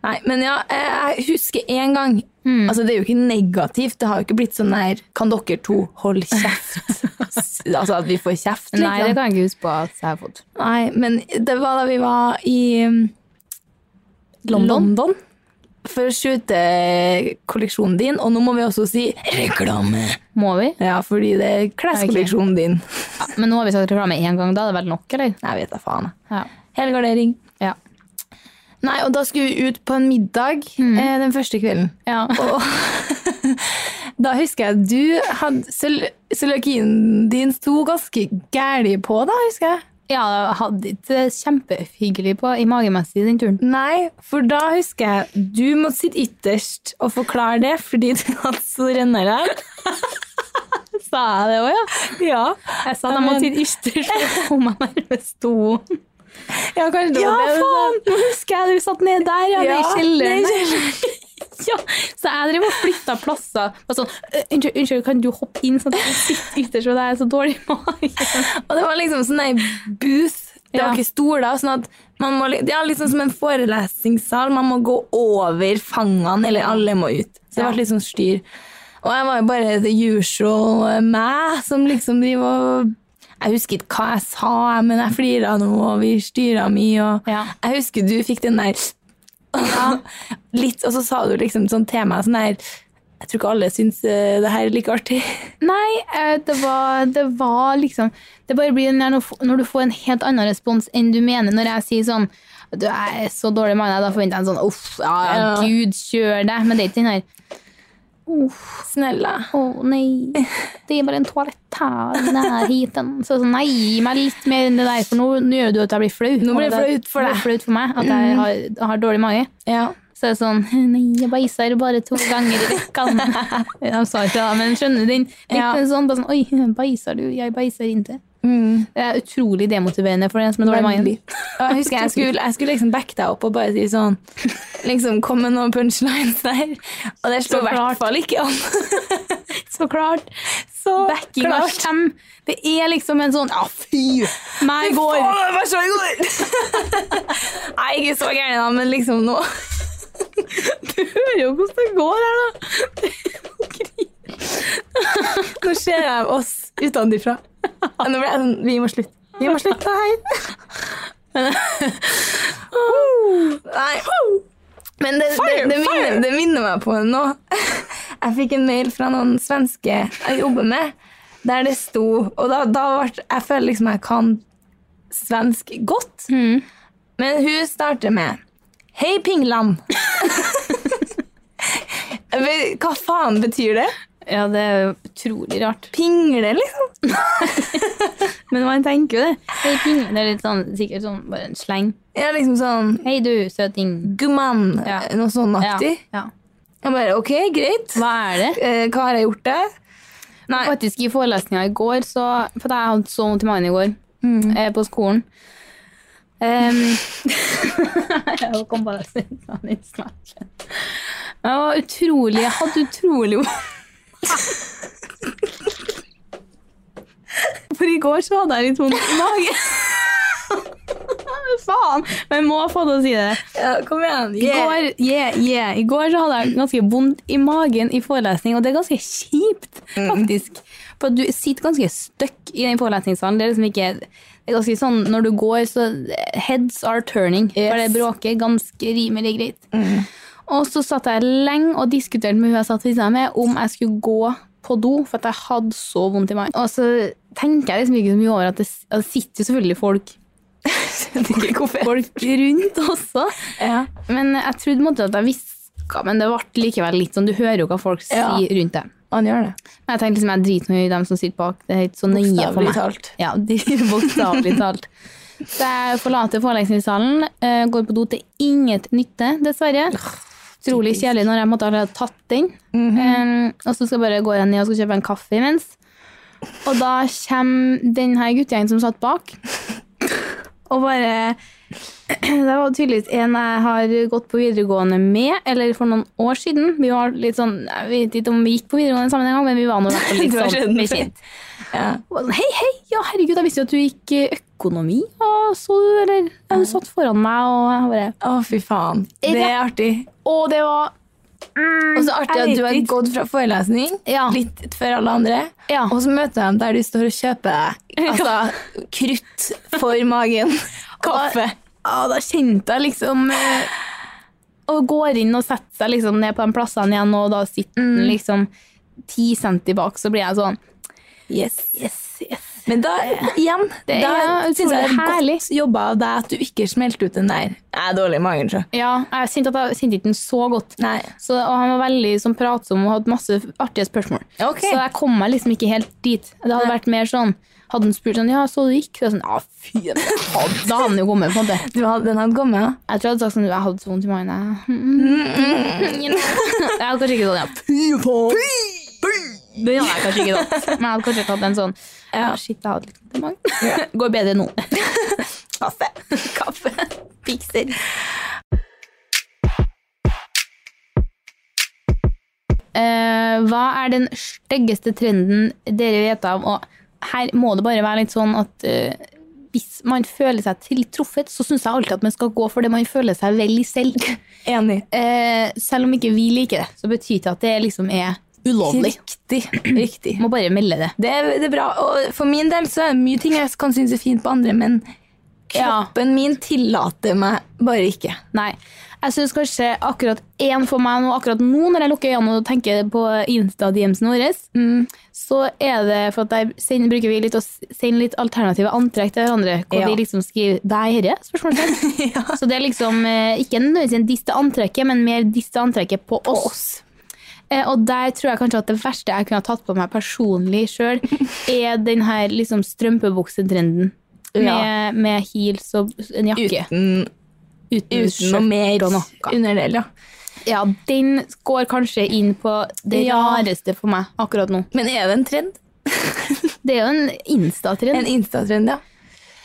Speaker 2: Nei, men ja, eh, jeg husker én gang.
Speaker 1: Mm.
Speaker 2: Altså, det er jo ikke negativt. Det har jo ikke blitt sånn der Kan dere to holde
Speaker 1: *laughs*
Speaker 2: kjeft? S- altså at vi får kjeft, liksom.
Speaker 1: Nei, det kan jeg ikke huske på at jeg har fått.
Speaker 2: Nei, men det var da vi var i um,
Speaker 1: London.
Speaker 2: for å skjute kolleksjonen din. Og nå må vi også si reklame.
Speaker 1: Må vi?
Speaker 2: Ja, fordi det er kleskolleksjonen din.
Speaker 1: Ja, men nå har vi sagt reklame én gang, da er det vel nok, eller?
Speaker 2: Jeg vet da faen.
Speaker 1: Ja.
Speaker 2: Helgardering.
Speaker 1: Ja.
Speaker 2: Nei, og da skulle vi ut på en middag
Speaker 1: Mm.
Speaker 2: eh, den første kvelden.
Speaker 1: ja.
Speaker 2: Og *laughs* da husker jeg du hadde cøl- Cøliakien din sto ganske gæli på, da, husker jeg.
Speaker 1: Ja, jeg hadde ikke det kjempehyggelig på i magemessig den turen.
Speaker 2: Nei, for da husker jeg du måtte sitte ytterst og forklare det fordi du hadde så rennere.
Speaker 1: Sa jeg det òg, ja?
Speaker 2: Ja.
Speaker 1: Jeg sa at jeg måtte sitte ytterst, for å få meg nærmest to. Ja, kanskje det
Speaker 2: Ja,
Speaker 1: var det. du sa.
Speaker 2: faen!
Speaker 1: Nå husker jeg du satt ned der, ja,
Speaker 2: Ja,
Speaker 1: ned i kjelleren.
Speaker 2: ned i
Speaker 1: ja, så jeg drev og flytta plasser. Bare sånn, «Øh, unnskyld, unnskyld, kan du hoppe inn sånn at du sitter ytterst, for det er så dårlig *laughs* i magen.
Speaker 2: Og det var liksom sånn ei booth. Det
Speaker 1: Ja.
Speaker 2: var ikke stoler. Sånn at man må, li- det er liksom som en forelesningssal. Man må gå over fangene, eller alle må ut. Så det
Speaker 1: Ja.
Speaker 2: ble litt sånn styr. Og jeg var jo bare the usual eh, meg, som liksom driver og Jeg husker ikke hva jeg sa, men jeg flira nå, og vi styra mye, og
Speaker 1: Ja.
Speaker 2: Jeg husker du fikk den der *laughs* Litt, og så sa du liksom sånn til meg sånn der Jeg tror ikke alle syns eh, det her er like artig.
Speaker 1: Nei, eh, det var, det var liksom Det bare blir når du- når du får en helt annen respons enn du mener når jeg sier sånn du jeg er så dårlig mann, da forventer jeg en sånn uff, ja, ja,
Speaker 2: Ja.
Speaker 1: gud, kjør deg. Men det er ikke den her
Speaker 2: Snella.
Speaker 1: Å nei, det er bare en toalett her i nærheten. Så sånn, nei, gi meg litt mer enn det der, for nå, nå gjør du at jeg blir flau.
Speaker 2: Nå blir det flaut for
Speaker 1: Nå blir det flaut for meg, at jeg har, har dårlig mage.
Speaker 2: Ja.
Speaker 1: Så er det sånn, *laughs* nei, jeg beiser bare to ganger i *laughs* vekken. De sa ikke det, men skjønner du den? Litt
Speaker 2: Ja.
Speaker 1: sånn, bare sånn, oi, beiser du? Jeg beiser ikke.
Speaker 2: Mm.
Speaker 1: Det er utrolig demotiverende for den som er dårlig i magen.
Speaker 2: Veldig. Og jeg husker jeg skulle, jeg skulle liksom backe deg opp og bare si sånn Liksom komme med noen punchlines der. Og det slo i hvert fall ikke an. *laughs*
Speaker 1: Så klart.
Speaker 2: Så
Speaker 1: Backing av
Speaker 2: klart.
Speaker 1: skjem. Det er liksom en sånn, ja, fy, meg
Speaker 2: Å,
Speaker 1: går. *laughs*
Speaker 2: det var så i går! *laughs* Nei, ikke så gæren, da, men liksom nå Du hører jo hvordan det går her, da. Nå ser jeg oss utenfra. Nå ble jeg sånn Vi må slutte. Vi må slutte her. Men, nei. Men det, det, det, minner, det minner meg på nå. Jeg fikk en mail fra noen svenske jeg jobber med, der det sto Og da, da ble Jeg føler liksom jeg kan svensk godt. Men hun starter med Hei, *laughs* Pinglam. Jeg vet- Hva faen betyr det?
Speaker 1: Ja, det er utrolig rart.
Speaker 2: Pingle, liksom?
Speaker 1: Men man tenker jo det. Hei, ting. Det er litt sånn, sikkert sånn bare en sleng.
Speaker 2: Ja, liksom sånn
Speaker 1: Hei, du, søting.
Speaker 2: Gumman.
Speaker 1: Ja.
Speaker 2: Noe sånn
Speaker 1: Ja.
Speaker 2: aktig.
Speaker 1: ja.
Speaker 2: Jeg bare OK, greit.
Speaker 1: Hva er det?
Speaker 2: Eh, Hva har jeg gjort der? Nei.
Speaker 1: Faktisk I forelesninga i går, så, for jeg hadde så vondt i magen i går eh, på skolen Em, *laughs* Jeg kom bare til å si litt snart. Jeg var utrolig Jeg hadde utrolig vondt. For i går så hadde jeg litt vondt i magen. *laughs* Faen! Men jeg må få det å si det.
Speaker 2: Ja, kom igjen.
Speaker 1: I
Speaker 2: *laughs*
Speaker 1: går, yeah, yeah. I går så hadde jeg ganske vondt i magen i forelesning, og det er ganske kjipt, faktisk. For du sitter ganske støkk i den forelesningssalen. Det er liksom ikke det er ganske sånn, Når du går, så Heads are turning. For det bråker ganske rimelig greit. Og så satt jeg lenge og diskuterte med hun jeg satt ved siden av med, om jeg skulle gå på do, for at jeg hadde så vondt i magen. Og så tenker jeg liksom ikke så mye over at det, at det sitter jo selvfølgelig folk, folk rundt også.
Speaker 2: Ja.
Speaker 1: Men jeg trodde på en måte at jeg hviska, men det ble likevel litt sånn Du hører jo hva folk sier
Speaker 2: Ja.
Speaker 1: rundt deg.
Speaker 2: Han gjør det.
Speaker 1: Men jeg tenkte liksom, jeg driter nå i dem som sitter bak. Det er ikke så nøye for meg.
Speaker 2: talt.
Speaker 1: Ja, de- *laughs* Bokstavelig talt. Så jeg forlater forelesningssalen, eh, går på do til inget nytte, dessverre. Utrolig kjedelig når jeg måtte ha tatt den. Eh, og så skal jeg bare gå igjen ned og skal kjøpe en kaffe imens. Og da kommer den her guttegjengen som satt bak, og bare *clears throat* Det var tydeligvis en jeg har gått på videregående med, eller for noen år siden. Vi var litt sånn, Jeg vet ikke om vi gikk på videregående sammen en gang, men vi var nå i hvert fall litt
Speaker 2: Du har
Speaker 1: sånn
Speaker 2: skjønt det.
Speaker 1: bekjent.
Speaker 2: Ja.
Speaker 1: Og sånn, Hei, hei, ja herregud, jeg visste jo at du gikk eh, økonomi, og så du, eller ja, du satt foran meg, og jeg bare,
Speaker 2: Å, fy faen. Det er artig.
Speaker 1: å, det var,
Speaker 2: Og så artig
Speaker 1: Mm, jeg
Speaker 2: at
Speaker 1: vet
Speaker 2: du har
Speaker 1: ikke.
Speaker 2: gått fra forelesning
Speaker 1: Ja.
Speaker 2: litt før alle andre,
Speaker 1: Ja.
Speaker 2: og så møter jeg dem der du står og
Speaker 1: *laughs*
Speaker 2: kjøper deg altså, krutt for magen. Kaffe.
Speaker 1: å, da kjente jeg liksom, eh, og går inn og setter seg liksom ned på den plassen igjen, og da sitter den liksom ti centi bak, så blir jeg sånn,
Speaker 2: Yes.
Speaker 1: yes, yes.
Speaker 2: Men da, igjen,
Speaker 1: Det
Speaker 2: da
Speaker 1: er
Speaker 2: synes jeg det er
Speaker 1: herlig.
Speaker 2: godt jobba av deg at du ikke smelte ut den der. Jeg er dårlig i magen, så.
Speaker 1: Ja, jeg kjente at jeg kjente ikke den så godt.
Speaker 2: Nei.
Speaker 1: Så, og han var veldig sånn, pratsom og hadde masse artige spørsmål.
Speaker 2: Ok.
Speaker 1: Så jeg kom meg liksom ikke helt dit. Det hadde vært mer sånn Hadde han spurt sånn Ja, så det gikk? Så jeg sånn, ja, fy, det hadde- da hadde han jo kommet. på en måte.
Speaker 2: Du hadde, den hadde kommet, ja.
Speaker 1: Jeg tror jeg hadde sagt sånn Jeg hadde så vondt i magen. Jeg Mm, you know. Jeg hadde kanskje ikke sånn ja, fy faen. Det hadde jeg kanskje ikke tatt. Men jeg hadde kanskje tatt en sånn ja. Shit, jeg hadde litt vondt i magen. Går bedre nå.
Speaker 2: Passe. *laughs* Kaffe. Pikser.
Speaker 1: Eh, hva er den styggeste trenden dere vet av? Og her må det bare være litt sånn at eh, hvis man føler seg tiltruffet, så syns jeg alltid at man skal gå for det man føler seg vel i selv.
Speaker 2: Enig.
Speaker 1: Eh, selv om ikke vi liker det, så betyr ikke at det liksom er ulovlig.
Speaker 2: Riktig. Riktig.
Speaker 1: Må bare melde det.
Speaker 2: Det er, det er bra. Og for min del så er det mye ting jeg kan synes er fint på andre, men
Speaker 1: Ja.
Speaker 2: kroppen min tillater meg bare ikke.
Speaker 1: Nei. Jeg syns kanskje akkurat én for meg nå, akkurat nå når jeg lukker øynene og tenker på Insta-DM-en vår, mm, så er det for at der sender, bruker vi litt å s- sende litt alternative antrekk til hverandre. Hvor
Speaker 2: Ja.
Speaker 1: vi liksom skriver 'deg herre?' spørsmålstegn.
Speaker 2: *laughs* Ja.
Speaker 1: Så det er liksom eh, ikke nødvendigvis en diss til antrekket, men mer diss til antrekket på, oss. Eh, Og der tror jeg kanskje at det verste jeg kunne ha tatt på meg personlig sjøl, er den her liksom strømpebuksetrenden. Med,
Speaker 2: Ja.
Speaker 1: med heels og en jakke.
Speaker 2: Uten, uten noe mer
Speaker 1: og noe.
Speaker 2: underdel, ja.
Speaker 1: Ja, den går kanskje inn på det
Speaker 2: Ja.
Speaker 1: rareste for meg akkurat nå.
Speaker 2: Men er det en trend?
Speaker 1: Det er jo en
Speaker 2: En
Speaker 1: Insta-trend.
Speaker 2: Insta-trend, ja.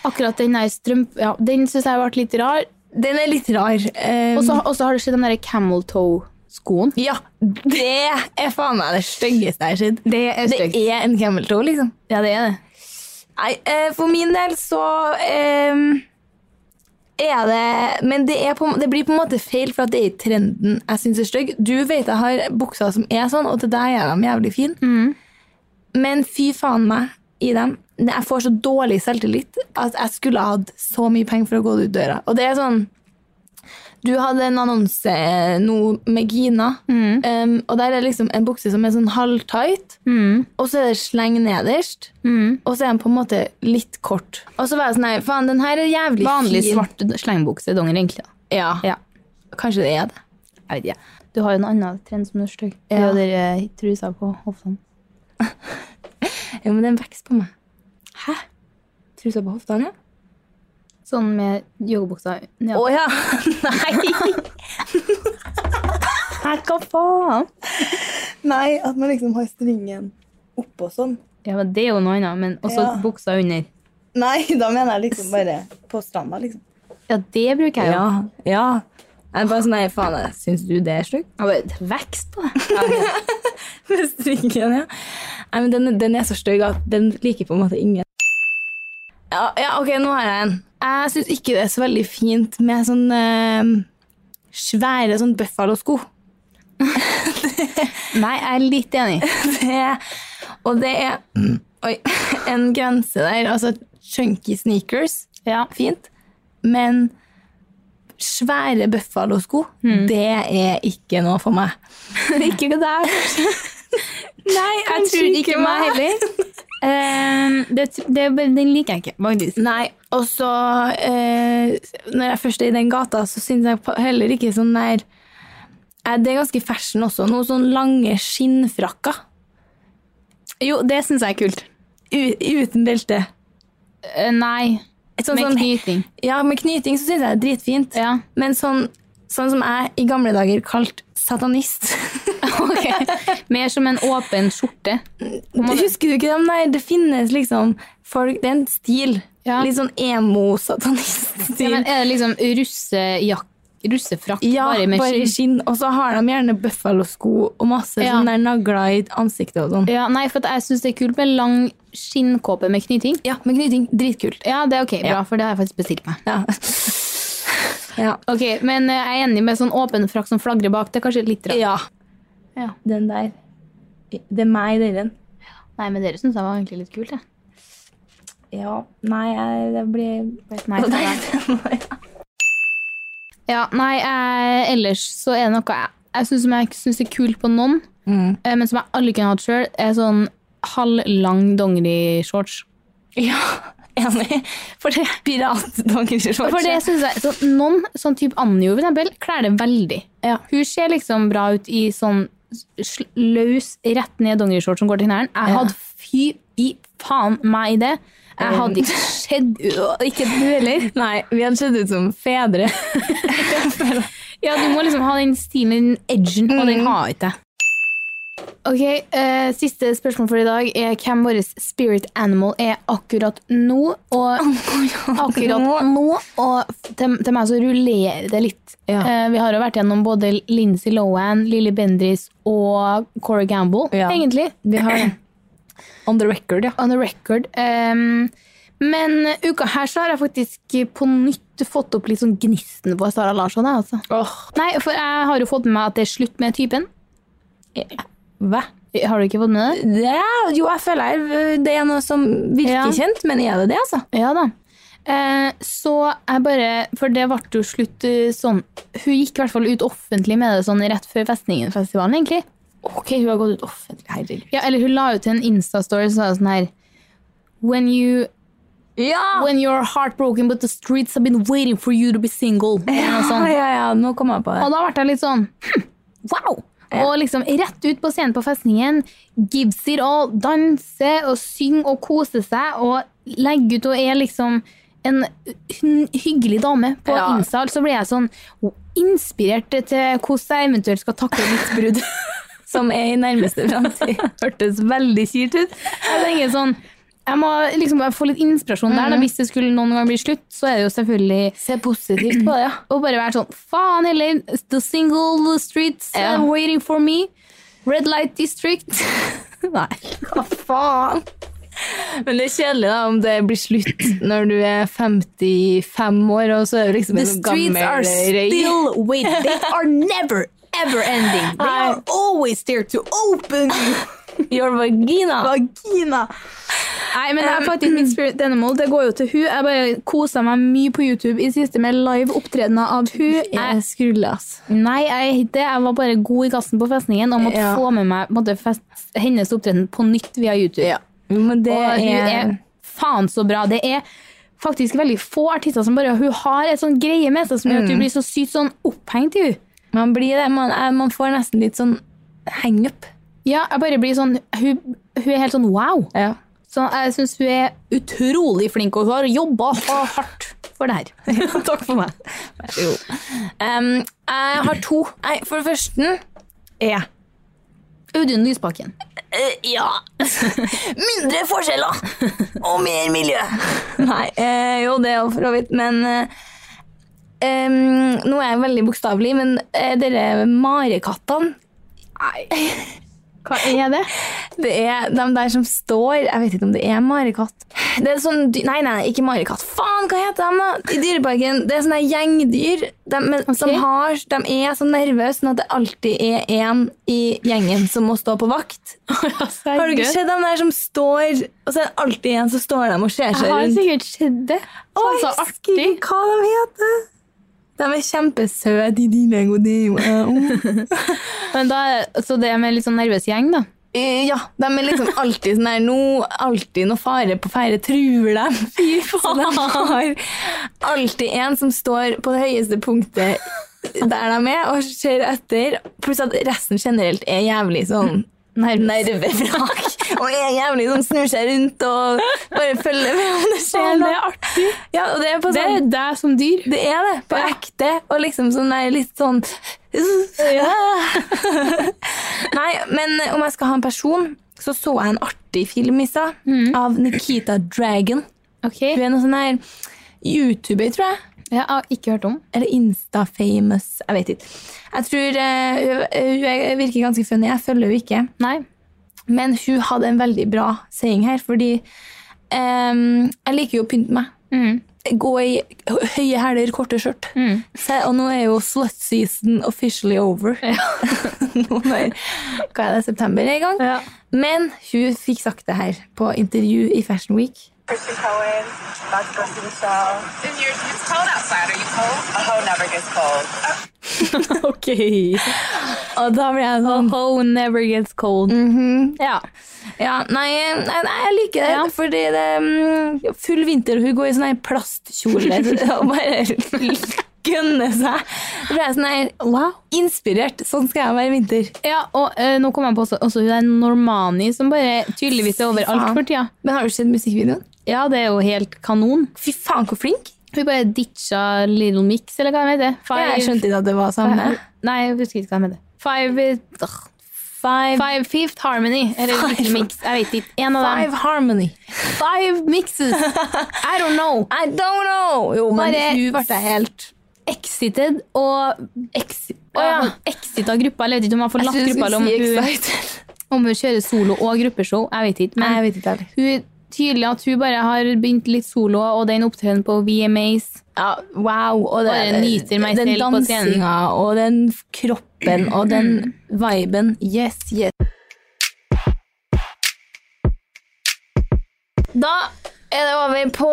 Speaker 1: Akkurat den der strømp... Ja, den syns jeg ble litt rar.
Speaker 2: Den er litt rar. eh,
Speaker 1: Og så og så har det skjedd den derre camel toe-skoen.
Speaker 2: ja, det er faen meg det styggeste jeg har sett.
Speaker 1: Det er
Speaker 2: Det
Speaker 1: stygt.
Speaker 2: er en camel toe, liksom.
Speaker 1: Ja, det er det.
Speaker 2: Nei, eh, for min del så eh, er det Men det, er på, det blir på en måte feil, for at det er ikke trenden jeg syns er stygg. Du vet jeg har bukser som er sånn, og til deg er de jævlig fine. Men fy faen meg i dem. Jeg får så dårlig selvtillit at jeg skulle ha hatt så mye penger for å gå ut døra. Og det er sånn Du hadde en annonse eh, nå med Gina, em, og der er liksom en bukse som er sånn halvtight, og så er det sleng nederst,
Speaker 1: Mm.
Speaker 2: og så er den på en måte litt kort. Og så var jeg sånn Nei, faen, den her er jævlig
Speaker 1: Vanlig
Speaker 2: fin.
Speaker 1: svart slengbuksedonger, egentlig. da.
Speaker 2: Ja.
Speaker 1: Ja.
Speaker 2: Kanskje det er det.
Speaker 1: Jeg vet ikke. Du har jo en annen trend som er stygg. Det er jo den eh, trusa på hoftene.
Speaker 2: Jo, men den vokser på meg. Hæ? Trusa på hoftene, ja?
Speaker 1: Sånn med joggebuksa
Speaker 2: Å
Speaker 1: ja.
Speaker 2: ja!
Speaker 1: *laughs*
Speaker 2: Nei!
Speaker 1: Hva faen?
Speaker 3: *laughs* Nei, at man liksom har stringen oppå sånn.
Speaker 1: Ja, men Det er jo noe annet, men også
Speaker 3: Ja.
Speaker 1: buksa under.
Speaker 3: Nei, *laughs* da mener jeg liksom bare på stranda, liksom.
Speaker 1: Ja, det bruker jeg jo.
Speaker 2: Ja. ja. Jeg er bare sånn, nei, faen, syns du det er stygt?
Speaker 1: Ja, men Vekst på det.
Speaker 2: *laughs* Med strikken, ja. Nei, men den, den er så stygg at den liker på en måte ingen. Ja, ja ok, nå har jeg en. Jeg syns ikke det er så veldig fint med sånn eh, svære sånn buffalosko.
Speaker 1: *laughs*
Speaker 2: *laughs*
Speaker 1: Nei, jeg er litt enig.
Speaker 2: Det- Og det er *clears throat* oi, *laughs* en grense der. Altså chunky sneakers,
Speaker 1: Ja.
Speaker 2: fint. Men svære buffalosko, det er ikke noe for meg.
Speaker 1: Ikke det der.
Speaker 2: Nei,
Speaker 1: Jeg tror ikke meg heller. Eh, det, det, den liker jeg ikke, faktisk.
Speaker 2: Nei, og så eh, Når jeg først er i den gata, så syns jeg på- heller ikke sånn der eh, Det er ganske fashion også. Noen sånn lange skinnfrakker
Speaker 1: Jo, det syns jeg er kult.
Speaker 2: u- uten belte.
Speaker 1: Eh, nei,
Speaker 2: Et Sånn,
Speaker 1: med
Speaker 2: sånn,
Speaker 1: knyting.
Speaker 2: ja, med knyting så syns jeg det er dritfint.
Speaker 1: Ja.
Speaker 2: Men sånn, sånn som jeg i gamle dager kalte satanist
Speaker 1: *laughs* Ok. Mer som en åpen skjorte.
Speaker 2: Husker du ikke dem der? Det finnes liksom folk Det er en stil.
Speaker 1: Ja.
Speaker 2: Litt sånn emo-satanist-stil.
Speaker 1: Ja, men er det liksom russejakk, russefrakk,
Speaker 2: Ja,
Speaker 1: bare med skinn?
Speaker 2: skinn. Og så har de gjerne buffalosko og masse
Speaker 1: Ja.
Speaker 2: sånne der nagler i ansiktet og sånn.
Speaker 1: Ja, nei, for at jeg syns det er kult med lang skinnkåpe med knyting.
Speaker 2: Ja, med knyting. Dritkult.
Speaker 1: Ja, det er ok, bra, for det har jeg faktisk bestilt meg.
Speaker 2: Ja. *laughs* ja.
Speaker 1: Ok, Men eh, jeg er enig med sånn åpen frakk som flagrer bak. Det er kanskje litt rart. Ja.
Speaker 2: Den der. Det er meg, den.
Speaker 1: Nei, men dere syns jeg var egentlig litt kult, jeg.
Speaker 2: Ja. Nei, jeg, det blir
Speaker 1: Nei,
Speaker 2: Nei,
Speaker 1: takk. Ja, nei, eh, ellers så er det noe jeg, jeg syns som jeg ikke syns er kult på noen, eh, men som jeg aldri kunne hatt sjøl, er sånn halvlang dongeri-shorts.
Speaker 2: Ja, enig. For det er piratdongershorts.
Speaker 1: For det synes jeg, så Noen, sånn type Anjo for eksempel, kler det veldig.
Speaker 2: Ja.
Speaker 1: Hun ser liksom bra ut i sånn sl- løs, rett ned dongeri-shorts som går til knærne. Jeg
Speaker 2: Ja.
Speaker 1: hadde fy i faen meg i det. Jeg hadde ikke sett Ikke du heller.
Speaker 2: Nei, vi hadde sett ut som fedre.
Speaker 1: Ja, du må liksom ha den stilen, den edgen, og den har jeg ikke. Mm. Ok, eh, Siste spørsmål for i dag er hvem vår spirit animal er akkurat nå.
Speaker 2: *laughs*
Speaker 1: Og akkurat nå Og til, til meg så rullerer det litt.
Speaker 2: Ja.
Speaker 1: Eh, vi har jo vært gjennom både Lincy Lohan, Lilly Bendris og Cora Gamble,
Speaker 2: Ja.
Speaker 1: egentlig.
Speaker 2: Vi har det. On the record, ja.
Speaker 1: On the record. Ehm, men uka her så har jeg faktisk på nytt fått opp litt sånn gnisten på Sara Larsson. jeg, Altså. Nei, for jeg har jo fått med meg at det er slutt med typen.
Speaker 2: Hva?
Speaker 1: Har du ikke fått med det?
Speaker 2: Ja, jo, jeg føler jeg- det er noe som virker
Speaker 1: Ja.
Speaker 2: kjent, men er det det, altså?
Speaker 1: Ja da. Eh, så jeg bare For det ble jo slutt eh, sånn Hun gikk i hvert fall ut offentlig med det sånn rett før Festningenfestivalen, egentlig.
Speaker 2: Ok, hun har gått ut offentlig. Herregud.
Speaker 1: Ja, eller hun la ut en Insta-story som sa sånn her When you
Speaker 2: Ja!
Speaker 1: When you're heartbroken but the streets have been waiting for you to be single. Eller noe
Speaker 2: Ja,
Speaker 1: sånt.
Speaker 2: ja, ja, nå kom jeg på det.
Speaker 1: Og da ble jeg litt sånn hm, Wow! Og liksom rett ut på scenen på festningen. Gives it all. Danse og synge og kose seg og legge ut og er liksom en hy- hyggelig dame på
Speaker 2: Ja.
Speaker 1: Insta. Så ble jeg sånn inspirert til hvordan jeg eventuelt skal takle mitt
Speaker 2: *laughs*
Speaker 1: brudd.
Speaker 2: Som er i
Speaker 1: *laughs*
Speaker 2: nærmeste fremtid.
Speaker 1: Hørtes veldig kjipt ut. Jeg tenker sånn jeg må liksom bare få litt inspirasjon der. Da. Hvis det skulle noen gang bli slutt, så er det jo selvfølgelig
Speaker 2: Mhm. Se positivt på det, ja.
Speaker 1: *clears throat* og bare være sånn Faen heller, the single streets
Speaker 2: Ja.
Speaker 1: are waiting for me. Red light district. *laughs* Nei.
Speaker 2: Hva faen? Men det er kjedelig da om det blir slutt når du er 55 år, og så er du liksom
Speaker 1: The
Speaker 2: en sånn gammel
Speaker 1: streets are
Speaker 2: røy.
Speaker 1: still waiting. They are never, ever ending. They are always there to open
Speaker 2: *laughs* Your vagina.
Speaker 1: vagina. Nei, men det er faktisk
Speaker 2: Ehm,
Speaker 1: mitt spirit animal. Det går jo til hun. Jeg bare kosa meg mye på YouTube i siste med live opptredener av hun. Jeg
Speaker 2: Jeg skruller, altså.
Speaker 1: Nei, jeg, er ikke det. jeg var bare god i gassen på festningen og måtte
Speaker 2: Ja.
Speaker 1: få med meg på en måte, fest, hennes opptreden på nytt via YouTube.
Speaker 2: Jo, men det
Speaker 1: og hun er
Speaker 2: er...
Speaker 1: faen så bra. Det er faktisk veldig få artister som bare Hun har et sånn greie med seg som gjør at
Speaker 2: Mm.
Speaker 1: du blir så sykt sånn opphengt i henne.
Speaker 2: Man blir det. Man, er, man får nesten litt sånn hang-up.
Speaker 1: Ja, jeg bare blir sånn Hun, hun er helt sånn wow.
Speaker 2: Ja. *laughs*
Speaker 1: Så jeg syns hun er utrolig flink, og hun har jobba hardt for det her.
Speaker 2: Takk for meg. Jo. Um, jeg har to. Nei, for det første er...
Speaker 1: Audun Lysbakken.
Speaker 2: Eh, ja. *laughs* Mindre forskjeller og mer miljø. *laughs* Nei, eh, jo det er jo for så vidt, men eh, em, Nå er jeg veldig bokstavelig, men eh, dere marekattene
Speaker 1: Hva er *laughs* det?
Speaker 2: det er de der som står Jeg vet ikke om det er marekatt. Det er sånn, dy- nei, nei, nei, ikke marekatt. Faen, hva heter de, da? I Dyreparken. Det er sånne gjengdyr. De, men, som har, de er så nervøse sånn at det alltid er én i gjengen som må stå på vakt. Har du ikke sett dem der som står Og så er det alltid en som står dem og ser seg
Speaker 1: Jeg har
Speaker 2: rundt?
Speaker 1: sikkert sett det. Sånn så
Speaker 2: jeg husker
Speaker 1: artig.
Speaker 2: ikke hva de heter. De er kjempesøte. de dine gode eh, dine.
Speaker 1: Men da, så det med litt sånn nervøs gjeng, da.
Speaker 2: Eh, Ja, de er liksom alltid sånn her nå, alltid noe fare på ferde truer dem. Fy faen! Så de har alltid en som står på det høyeste punktet der de er, og ser etter. Pluss at resten generelt er jævlig sånn nervevrak. Og er jævlig sånn snur seg rundt og bare følger med *laughs* om det skjer
Speaker 1: Faen,
Speaker 2: noe.
Speaker 1: det er artig.
Speaker 2: Ja, og det er på
Speaker 1: Sånn, Det
Speaker 2: sånn
Speaker 1: er deg som dyr.
Speaker 2: det er det, på
Speaker 1: Ja.
Speaker 2: ekte. Og liksom sånn der litt sånn *laughs* Nei, men eh, om jeg skal ha en person, så så jeg en artig film i stad av Nikita Dragon.
Speaker 1: Ok.
Speaker 2: Hun er noe sånn her YouTuber, tror jeg.
Speaker 1: Jeg har ikke hørt om.
Speaker 2: Eller Insta-famous. Jeg vet ikke. Jeg tror eh, hun, hun er- virker ganske funny. Jeg følger henne ikke.
Speaker 1: Nei.
Speaker 2: Men hun hadde en veldig bra saying her, fordi ehm, jeg liker jo å pynte meg. Gå i hø- høye hæler, korte skjørt. Se, og nå er jo slut season officially over. *laughs* nå er, hva er det, september er i gang?
Speaker 1: Ja.
Speaker 2: Men hun fikk sagt det her på intervju i Fashion Week.
Speaker 5: Christy Cohen, Dr. Christy Michelle.
Speaker 6: It's, yours- it's cold outside. Are you cold?
Speaker 5: A hoe never gets cold.
Speaker 1: *laughs* Ok.
Speaker 2: Og da ble jeg sånn
Speaker 1: Ho never gets cold. Ja.
Speaker 2: Ja, nei, nei, nei, jeg liker det.
Speaker 1: Ja.
Speaker 2: Fordi det er mm, full vinter, og hun går i sånn her *laughs* plastkjole og bare gønner seg. Da ble jeg sånn her wow. inspirert. Sånn skal jeg være i vinter.
Speaker 1: ja og eh, nå kom jeg på også, også hun der Normani, som bare tydeligvis er overalt
Speaker 2: Faen.
Speaker 1: for tida.
Speaker 2: Men har du sett musikkvideoen?
Speaker 1: Ja, det er jo helt kanon.
Speaker 2: Fy faen, hvor flink!
Speaker 1: Hun bare ditcha Little Mix, eller hva det heter.
Speaker 2: Jeg skjønte ikke at det var samme.
Speaker 1: Nei, jeg husker ikke hva det heter. Five, eh,
Speaker 2: Five,
Speaker 1: Five Fifth Harmony. Eller
Speaker 2: Five-
Speaker 1: Little Mix. Jeg vet ikke. En av dem.
Speaker 2: five Harmony.
Speaker 1: Five mixes. I don't know.
Speaker 2: I don't know! Jo, men
Speaker 1: Bare-
Speaker 2: hun ble helt
Speaker 1: Exited og exit,
Speaker 2: Å, ja.
Speaker 1: Exit av gruppa. Jeg vet ikke om hun har
Speaker 2: Jeg
Speaker 1: forlatt
Speaker 2: trodde du
Speaker 1: gruppa, eller
Speaker 2: skulle
Speaker 1: om
Speaker 2: si
Speaker 1: hun,
Speaker 2: excited.
Speaker 1: om hun kjører solo og gruppeshow. Jeg vet ikke.
Speaker 2: Nei,
Speaker 1: Men
Speaker 2: jeg vet ikke heller.
Speaker 1: hun, tydelig at hun bare har begynt litt solo, og den opptredenen på VMAs
Speaker 2: Ja, wow. Og det,
Speaker 1: Bare nyter meg
Speaker 2: den
Speaker 1: selv på scenen.
Speaker 2: dansinga og den kroppen og den viben. Yes, yes. Da er det over på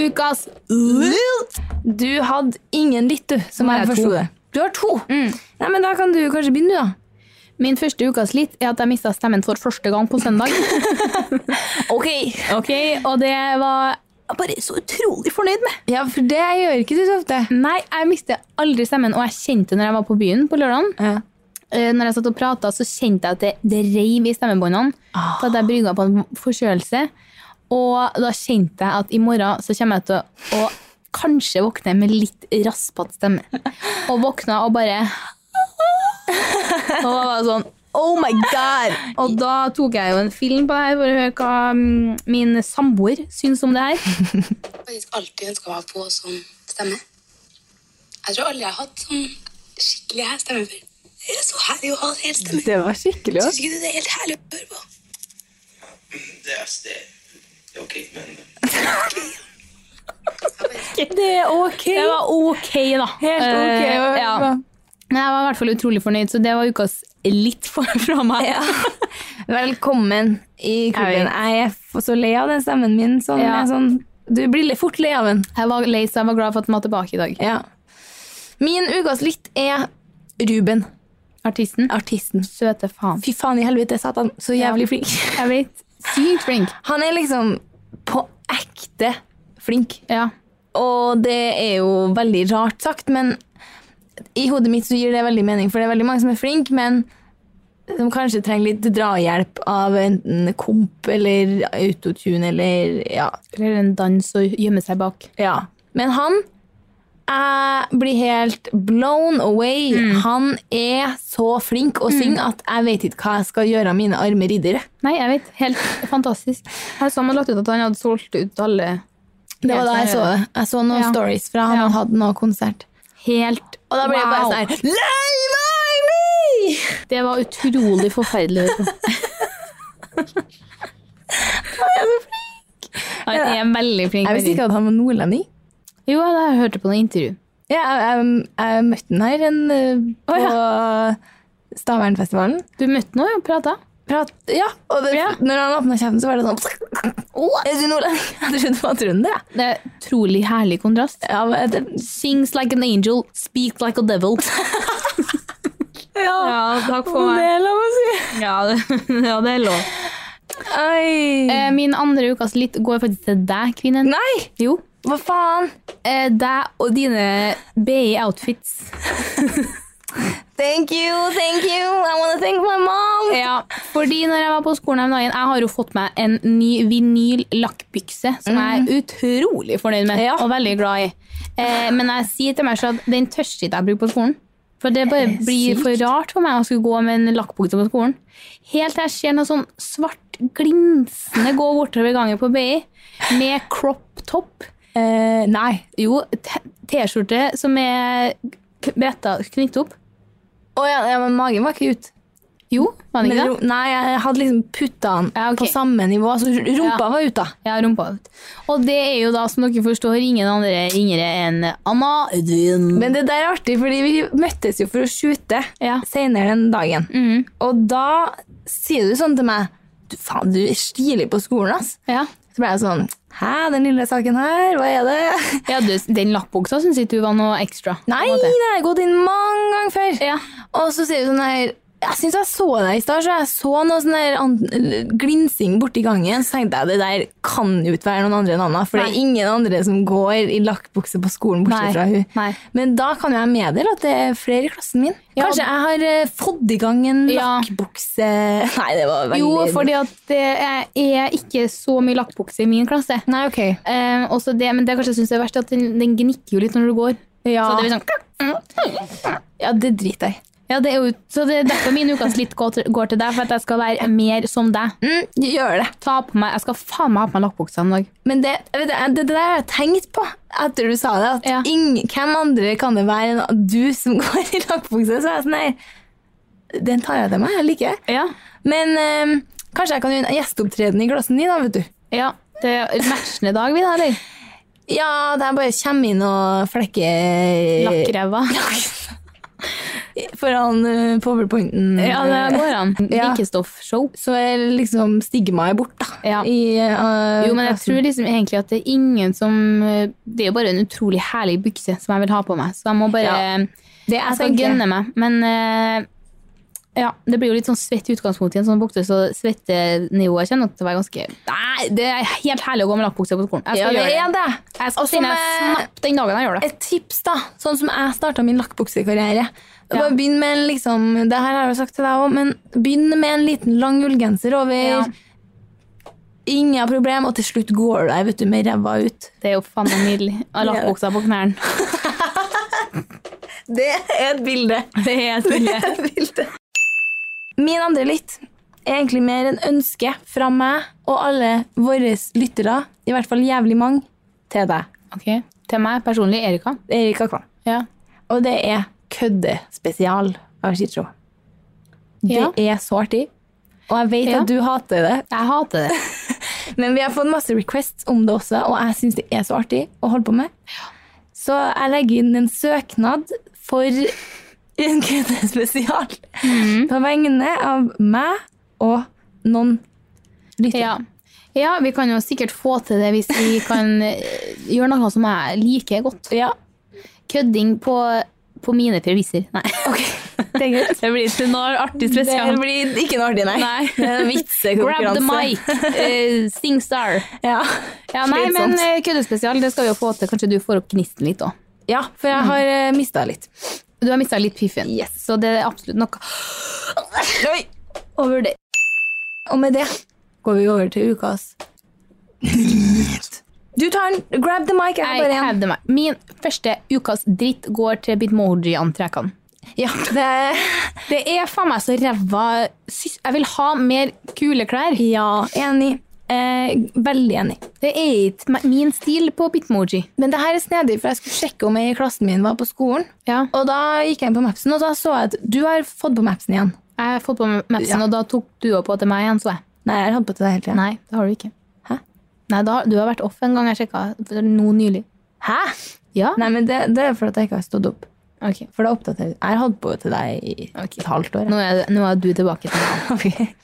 Speaker 2: ukas Ult. Du hadde ingen litt, du, som
Speaker 1: Nei,
Speaker 2: jeg
Speaker 1: to.
Speaker 2: forsto det. Du har Mm. to. Nei, men Da kan du kanskje begynne, du, da.
Speaker 1: Min første ukas litt er at jeg mista stemmen for første gang på søndag.
Speaker 2: Ok.
Speaker 1: *laughs* Ok, Og det var jeg bare så utrolig fornøyd med.
Speaker 2: Ja, for det gjør ikke du så ofte.
Speaker 1: Nei, jeg mister aldri stemmen, og jeg kjente det når jeg var på byen på lørdagen.
Speaker 2: Ja.
Speaker 1: Eh, Når jeg satt og prata, så kjente jeg at det, det reiv i stemmebåndene. For at jeg brygga på en forkjølelse. Og da kjente jeg at i morgen så kommer jeg til å, å kanskje våkne med litt raspete stemme. Og våkna og bare Og var bare sånn Oh my god! Og da tok jeg jo en film på det her for å høre hva mm, min samboer syns om det her.
Speaker 7: faktisk alltid ønska å ha på sånn stemme. Jeg tror alle jeg har hatt sånn skikkelig her stemme før. Det er så herlig å ha helt stemme.
Speaker 2: Det var skikkelig
Speaker 7: Syns ikke du det er helt herlig å høre på?
Speaker 8: Det er, det, det er ok, men
Speaker 2: Det er ok.
Speaker 1: Det var ok, da.
Speaker 2: Helt ok.
Speaker 1: Eh,
Speaker 2: ja.
Speaker 1: ja. Men jeg var i hvert fall utrolig fornøyd, så det var ukas litt for, fra meg.
Speaker 2: Velkommen i klubben.
Speaker 1: Jeg
Speaker 2: Jeg er f- så lei av den stemmen min. Sånn,
Speaker 1: Ja.
Speaker 2: jeg er sånn, du blir litt fort lei av den.
Speaker 1: Jeg var lei, så jeg var glad for at den var tilbake i dag.
Speaker 2: Ja. Min ukas litt er Ruben,
Speaker 1: Artisten.
Speaker 2: artisten.
Speaker 1: Søte faen.
Speaker 2: Fy faen i helvete, satan. Så jævlig flink. *laughs*
Speaker 1: Jeg vet. Sykt flink.
Speaker 2: Han er liksom på ekte flink.
Speaker 1: Ja.
Speaker 2: Og det er jo veldig rart sagt, men i hodet mitt så gir det veldig mening, for det er veldig mange som er flinke, men som kanskje trenger litt drahjelp av enten komp eller autotune eller ja.
Speaker 1: Eller en dans og gjemme seg bak.
Speaker 2: ja. Men han jeg blir helt blown away. Han er så flink å synge at jeg vet ikke hva jeg skal gjøre av mine arme riddere.
Speaker 1: Nei, jeg vet. Helt fantastisk. Jeg så han hadde lagt ut at han hadde solgt ut alle
Speaker 2: Det var da jeg så det. Jeg så noen
Speaker 1: Ja.
Speaker 2: stories fra han
Speaker 1: Ja.
Speaker 2: og hadde noe konsert.
Speaker 1: Helt
Speaker 2: Og da ble jeg
Speaker 1: Wow.
Speaker 2: bare sånn her, Lei meg meg!
Speaker 1: Det var utrolig forferdelig.
Speaker 2: *laughs*
Speaker 1: å høre på. Han er en veldig flink.
Speaker 2: Jeg visste
Speaker 1: fyr.
Speaker 2: ikke at han var nordlending.
Speaker 1: Jo, jeg hørte på noe intervju.
Speaker 2: Ja, jeg, jeg, jeg møtte han her en, eh, på Stavernfestivalen.
Speaker 1: Du møtte noen og prata.
Speaker 2: Prat, ja, og det,
Speaker 1: Ja.
Speaker 2: når han åpna kjeften, så var det sånn *laughs* «Åh, Er du nordlending? *laughs* Jeg trodde han var trønder. jeg.
Speaker 1: Det er utrolig herlig kontrast.
Speaker 2: Ja, men det,
Speaker 1: Sings like an angel, speak like a *laughs* devil.
Speaker 2: ja,
Speaker 1: takk
Speaker 2: det er lov å si.
Speaker 1: Ja, det, *laughs* ja, det er lov.
Speaker 2: Oi.
Speaker 1: Eh, min andre ukas litt går faktisk til deg, kvinnen.
Speaker 2: Nei,
Speaker 1: Jo.
Speaker 2: hva faen?
Speaker 1: Eh, deg og dine BI-outfits.
Speaker 2: Thank you, thank you. I wanna thank my mom.
Speaker 1: Ja, fordi når jeg var på skolen her om dagen, jeg har jo fått meg en ny vinyl-lakkbykse, som jeg er utrolig fornøyd med
Speaker 2: Ja.
Speaker 1: og veldig glad i. Eh, men jeg sier til meg selv at den tør ikke jeg bruke på skolen. For det bare blir for rart for meg å skulle gå med en lakkbukse på skolen. Helt til jeg ser noe sånn svart glinsende gå bortover gangen på BI med crop top.
Speaker 2: Eh, nei.
Speaker 1: Jo, t- T-skjorte som er k- bretta knyttet opp.
Speaker 2: Å ja, ja, men magen var cute.
Speaker 1: Jo, var den
Speaker 2: Men,
Speaker 1: ikke det?
Speaker 2: ro- nei, jeg hadde liksom putta den
Speaker 1: Ja, ok.
Speaker 2: på samme nivå, så rumpa
Speaker 1: Ja.
Speaker 2: var ute.
Speaker 1: Ja, rumpa ut. Og det er jo da, som dere forstår, ingen andre ringere enn Anna Edvin.
Speaker 2: Men det der er artig, fordi vi møttes jo for å shoote
Speaker 1: Ja. Mhm.
Speaker 2: senere den dagen. Og da sier du sånn til meg du, Faen, du er stilig på skolen, ass.
Speaker 1: Ja.
Speaker 2: Så ble jeg sånn Hæ, den lille saken her, hva er det?
Speaker 1: ja, du, den lakkbuksa syns ikke du var noe ekstra. på en
Speaker 2: Nei,
Speaker 1: måte.
Speaker 2: den har jeg gått inn mange ganger før.
Speaker 1: Ja.
Speaker 2: Og så sier du sånn her Jeg syns jeg så deg i stad, så jeg så noe sånn her an- glinsing borti gangen. Så tenkte jeg det der kan jo ikke være noen andre enn Anna, for det
Speaker 1: Nei.
Speaker 2: er ingen andre som går i lakkbukse på skolen
Speaker 1: Nei.
Speaker 2: bortsett fra hun.
Speaker 1: Nei.
Speaker 2: Men da kan jo jeg meddele at det er flere i klassen min.
Speaker 1: Ja.
Speaker 2: Kanskje jeg har eh, fått i gang en
Speaker 1: Ja.
Speaker 2: lakkbukse *laughs* Nei, det var veldig
Speaker 1: Jo, fordi at det er- er ikke så mye lakkbukse i min klasse.
Speaker 2: Nei, ok.
Speaker 1: Eh, også det, men det jeg kanskje syns er verst, er at den, den gnikker jo litt når du går.
Speaker 2: Ja,
Speaker 1: Så det
Speaker 2: det,
Speaker 1: blir sånn
Speaker 2: ja, det driter jeg i.
Speaker 1: Ja, det er jo, så det er derfor min ukas litt går til, går til deg, for at jeg skal være mer som deg.
Speaker 2: Mm, gjør det.
Speaker 1: Ta på meg, Jeg skal faen meg ha på meg lakkbuksa en dag.
Speaker 2: Men det, jeg vet, det, det der har jeg tenkt på etter du sa det. At
Speaker 1: Ja.
Speaker 2: ingen, hvem andre kan det være enn du som *laughs* går i lakkbukse? Så er jeg sånn, nei, den tar jeg til meg. Jeg liker det.
Speaker 1: Ja.
Speaker 2: Men eh, kanskje jeg kan gjøre en gjesteopptreden i klassen din, da, vet du.
Speaker 1: ja. Det er matchen i dag, vi, da, eller?
Speaker 2: Ja, der bare kommer inn og
Speaker 1: Eh,
Speaker 2: flekker eh,
Speaker 1: Lakkræva.
Speaker 2: foran eh, powerpointen.
Speaker 1: *laughs* Ja, det går an.
Speaker 2: Ja.
Speaker 1: Likestoffshow.
Speaker 2: Så er liksom stigmaet bort, da.
Speaker 1: Ja.
Speaker 2: I, eh,
Speaker 1: Jo, men jeg
Speaker 2: klassen.
Speaker 1: tror liksom egentlig at det er ingen som eh, Det er jo bare en utrolig herlig bukse som jeg vil ha på meg, så jeg må bare
Speaker 2: Ja. det jeg
Speaker 1: Jeg skal
Speaker 2: tenker-
Speaker 1: gønne meg, men eh, ja, det blir jo litt sånn svett i utgangspunktet i en sånn bukse, så svettenivået kommer nok til å være ganske Nei, det er helt herlig å gå med lakkbukse på skolen. Jeg
Speaker 2: Ja,
Speaker 1: skal
Speaker 2: det
Speaker 1: gjøre det.
Speaker 2: er det.
Speaker 1: Jeg skal
Speaker 2: Og så
Speaker 1: finne
Speaker 2: med-
Speaker 1: snapp den dagen jeg gjør det.
Speaker 2: et tips, da. Sånn som jeg starta min lakkbuksekarriere.
Speaker 1: Ja.
Speaker 2: Bare begynn med en liksom, det her har jeg jo sagt til deg også, men begynn med en liten lang ullgenser over.
Speaker 1: Ja.
Speaker 2: Ingen problem, og til slutt går du deg vet du, med ræva ut.
Speaker 1: Det er jo faen meg
Speaker 2: *laughs*
Speaker 1: nydelig. Og Lakkbuksa på knærne.
Speaker 2: Det er et bilde.
Speaker 1: Det er stille.
Speaker 2: Min andre lytt er egentlig mer en ønske fra meg og alle våre lyttere, i hvert fall jævlig mange, til deg,
Speaker 1: Ok, Til meg personlig, Erika.
Speaker 2: Erika Kvam.
Speaker 1: Ja.
Speaker 2: Og det er køddespesial av Chitro.
Speaker 1: Ja.
Speaker 2: Det er så artig. Og jeg vet
Speaker 1: Ja.
Speaker 2: at du hater det,
Speaker 1: Jeg hater det.
Speaker 2: Men vi har fått masse requests om det også, og jeg syns det er så artig å holde på med. Så jeg legger inn en søknad for en køddespesial
Speaker 1: Mm.
Speaker 2: på vegne av meg og noen lyttere.
Speaker 1: Ja. ja, vi kan jo sikkert få til det hvis vi kan eh, gjøre noe som jeg liker godt.
Speaker 2: Ja.
Speaker 1: Kødding på, på mine premisser. Nei.
Speaker 2: Det er
Speaker 1: *laughs*
Speaker 2: greit.
Speaker 1: Det blir ikke noe artig
Speaker 2: Det blir ikke noe artig,
Speaker 1: *laughs*
Speaker 2: nei.
Speaker 1: Nei.
Speaker 2: *laughs* Det er en
Speaker 1: Grab the
Speaker 2: vitsekonkurranse.
Speaker 1: mic, eh, sing star.
Speaker 2: Ja.
Speaker 1: Ja, nei, men
Speaker 2: Slitsomt.
Speaker 1: eh, køddespesial, det skal vi jo få til. Kanskje du får opp gnisten litt òg.
Speaker 2: ja, for
Speaker 1: mm.
Speaker 2: jeg har mista litt.
Speaker 1: Du har mista litt piffen, så det er absolutt noe
Speaker 2: Oi. Og med det går vi over til ukas Du tar den. Grab the mic. Jeg har
Speaker 1: Jeg
Speaker 2: bare en.
Speaker 1: hevder meg. Min første ukas dritt går til bitmoji-antrekkene.
Speaker 2: Ja, det
Speaker 1: Det er faen meg så ræva sys- Jeg vil ha mer kule klær.
Speaker 2: Ja, enig. Eh, veldig enig.
Speaker 1: Det er ikke me- min stil på bitmoji.
Speaker 2: Men det her er snedig, for jeg skulle sjekke om jeg i klassen min var på skolen.
Speaker 1: Ja.
Speaker 2: Og da gikk jeg inn på Mapsen, og da så jeg at du har fått på Mapsen igjen.
Speaker 1: Jeg har fått på meg mapsen,
Speaker 2: Ja.
Speaker 1: og da tok du opp på til meg igjen, så jeg.
Speaker 2: Nei, jeg har hatt på til deg hele tiden.
Speaker 1: Nei, det har du ikke.
Speaker 2: Hæ?
Speaker 1: Nei, da, du har vært off en gang jeg sjekket for Nå nylig.
Speaker 2: Hæ?
Speaker 1: Ja?
Speaker 2: Nei, men det, det er fordi jeg ikke har stått opp.
Speaker 1: Ok.
Speaker 2: For da oppdaterer jeg. har hatt på til deg i et halvt år.
Speaker 1: Nå er, nå er du tilbake til meg.
Speaker 2: *laughs* Ok.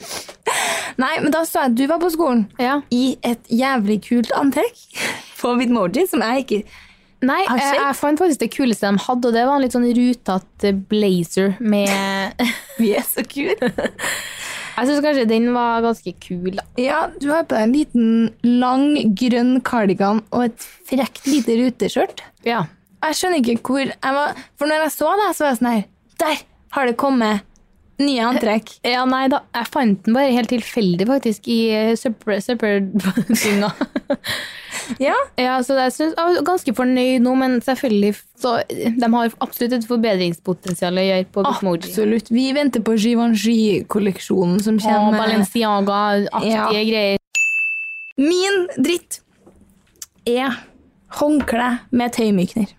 Speaker 2: Nei, men da så jeg at du var på skolen
Speaker 1: Ja.
Speaker 2: i et jævlig kult antrekk *laughs* på Bitmoji, som jeg ikke
Speaker 1: Nei,
Speaker 2: Har du
Speaker 1: jeg,
Speaker 2: sett?
Speaker 1: jeg fant faktisk det kuleste de hadde, og det var en litt sånn rutete blazer med *laughs*
Speaker 2: Vi er så kule.
Speaker 1: Jeg syns kanskje den var ganske kul, da.
Speaker 2: Ja, du har på deg en liten, lang, grønn kardigan og et frekt lite ruteskjørt.
Speaker 1: Ja.
Speaker 2: Og Jeg skjønner ikke hvor jeg var, For når jeg så det, så var jeg sånn her Der har det kommet nye antrekk.
Speaker 1: Ja, nei da. Jeg fant den bare helt tilfeldig, faktisk, i eh, søppel- søppeldynga.
Speaker 2: *laughs* Ja,
Speaker 1: *laughs* ja, så jeg, synes, jeg var ganske fornøyd nå, men selvfølgelig så De har absolutt et forbedringspotensial å gjøre på Bitmoji.
Speaker 2: absolutt. Vi venter på Givenchy-kolleksjonen som
Speaker 1: Og
Speaker 2: kommer.
Speaker 1: Balenciaga-aktige
Speaker 2: Ja.
Speaker 1: greier.
Speaker 2: Min dritt er håndkle med tøymykner.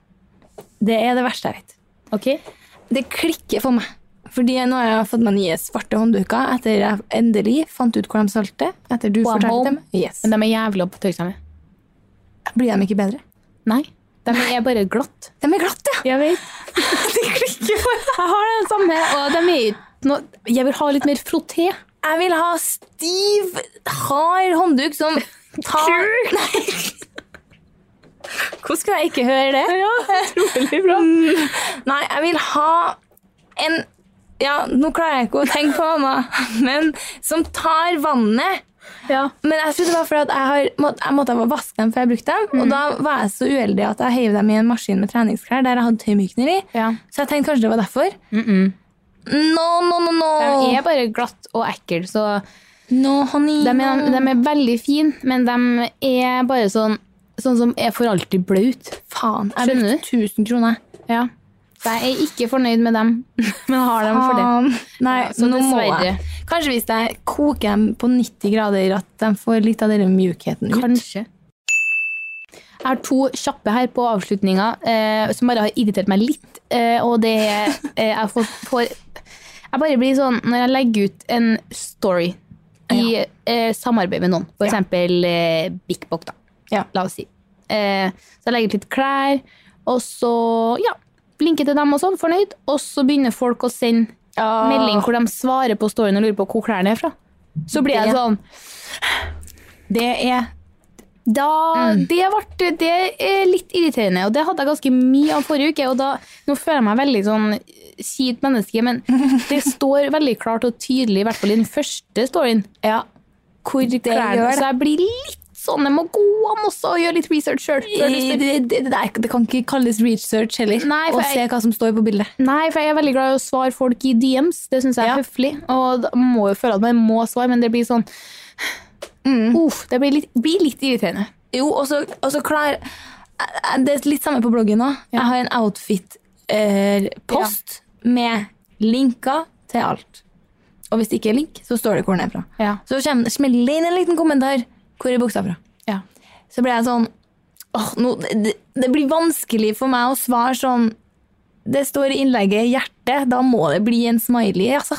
Speaker 2: Det er det verste jeg vet.
Speaker 1: Ok?
Speaker 2: Det klikker for meg. Fordi nå har jeg fått meg nye svarte håndduker etter jeg endelig fant ut hvor de solgte. Etter du
Speaker 1: One home.
Speaker 2: fortalte dem. Yes.
Speaker 1: Men de er jævla på tørksomme.
Speaker 2: Blir de ikke bedre?
Speaker 1: Nei. De er bare glatt.
Speaker 2: De er glatte! *laughs*
Speaker 1: Jeg vet.
Speaker 2: De klikker for meg.
Speaker 1: Jeg har den samme, og de er ikke noe Jeg vil ha litt mer frotté.
Speaker 2: Jeg vil ha stiv, hard håndduk som tar Kul! *laughs* Nei. Hvordan kunne jeg ikke høre det? Ja, Utrolig bra. Nei, jeg vil ha en Ja, nå klarer jeg ikke å tenke på annet, men som tar vannet.
Speaker 1: Ja.
Speaker 2: Men jeg trodde det var fordi at jeg, har, må- jeg måtte ha vaske dem før jeg brukte dem. Og da var jeg så uheldig at jeg heiv dem i en maskin med treningsklær der jeg hadde tøymykner i.
Speaker 1: Ja.
Speaker 2: Så jeg tenkte kanskje det var derfor. No, no, no, no.
Speaker 1: De er bare glatt og ekle, så
Speaker 2: no honey,
Speaker 1: de er,
Speaker 2: no.
Speaker 1: de er veldig fine, men de er bare sånn Sånn som er for alltid blaut.
Speaker 2: Faen, jeg
Speaker 1: Skjønner
Speaker 2: brukte 1000 kroner.
Speaker 1: Ja. Så jeg er ikke fornøyd med dem, *laughs* men jeg har dem for det.
Speaker 2: Faen. Nei,
Speaker 1: Ja, så
Speaker 2: nå må
Speaker 1: dessverre.
Speaker 2: jeg. Kanskje hvis jeg koker dem på 90 grader, at de får litt av den mjukheten ut.
Speaker 1: Kanskje. Jeg har to kjappe her på avslutninga eh, som bare har irritert meg litt. Eh, og det er eh, jeg, får, får, jeg bare blir sånn når jeg legger ut en story i eh, samarbeid med noen, for
Speaker 2: Ja.
Speaker 1: eksempel eh, Bik Bok, da.
Speaker 2: Ja.
Speaker 1: La oss si. Eh, så jeg legger ut litt klær, og så ja, blinker til dem og sånn, fornøyd. Og så begynner folk å sende
Speaker 2: Ah.
Speaker 1: melding hvor de svarer på storyen og lurer på hvor klærne er fra. Så blir jeg
Speaker 2: Det-
Speaker 1: sånn
Speaker 2: Det er
Speaker 1: da,
Speaker 2: Mm.
Speaker 1: det, ble, det er litt irriterende, og det hadde jeg ganske mye av forrige uke. Og da, nå føler jeg meg veldig sånn kjipt menneske, men det står veldig klart og tydelig, i hvert fall i den første storyen,
Speaker 2: Ja.
Speaker 1: hvor klærne
Speaker 2: gjør det.
Speaker 1: Så jeg blir litt sånn, det må gå an også å gjøre litt research sjøl.
Speaker 2: Det, det, det, der- det kan ikke kalles research heller.
Speaker 1: Nei, for
Speaker 2: å
Speaker 1: jeg-
Speaker 2: se hva som står på bildet.
Speaker 1: Nei, for jeg er veldig glad i å svare folk i DMs. Det syns jeg er
Speaker 2: Ja.
Speaker 1: høflig. Og da må jo føle at man må svare, men det blir sånn
Speaker 2: Mm.
Speaker 1: Uff, det blir litt, blir litt irriterende.
Speaker 2: Jo, og så, og så klar Det er litt samme på bloggen òg. Jeg har en outfit-post med linker til alt. Og hvis det ikke er link, så står det hvor den er fra.
Speaker 1: Ja.
Speaker 2: Så kommer- smeller det inn en liten kommentar. Hvor er buksa fra?
Speaker 1: Ja.
Speaker 2: Så ble jeg sånn åh, nå, det, det blir vanskelig for meg å svare sånn Det står i innlegget 'hjerte'. Da må det bli en smiley, altså.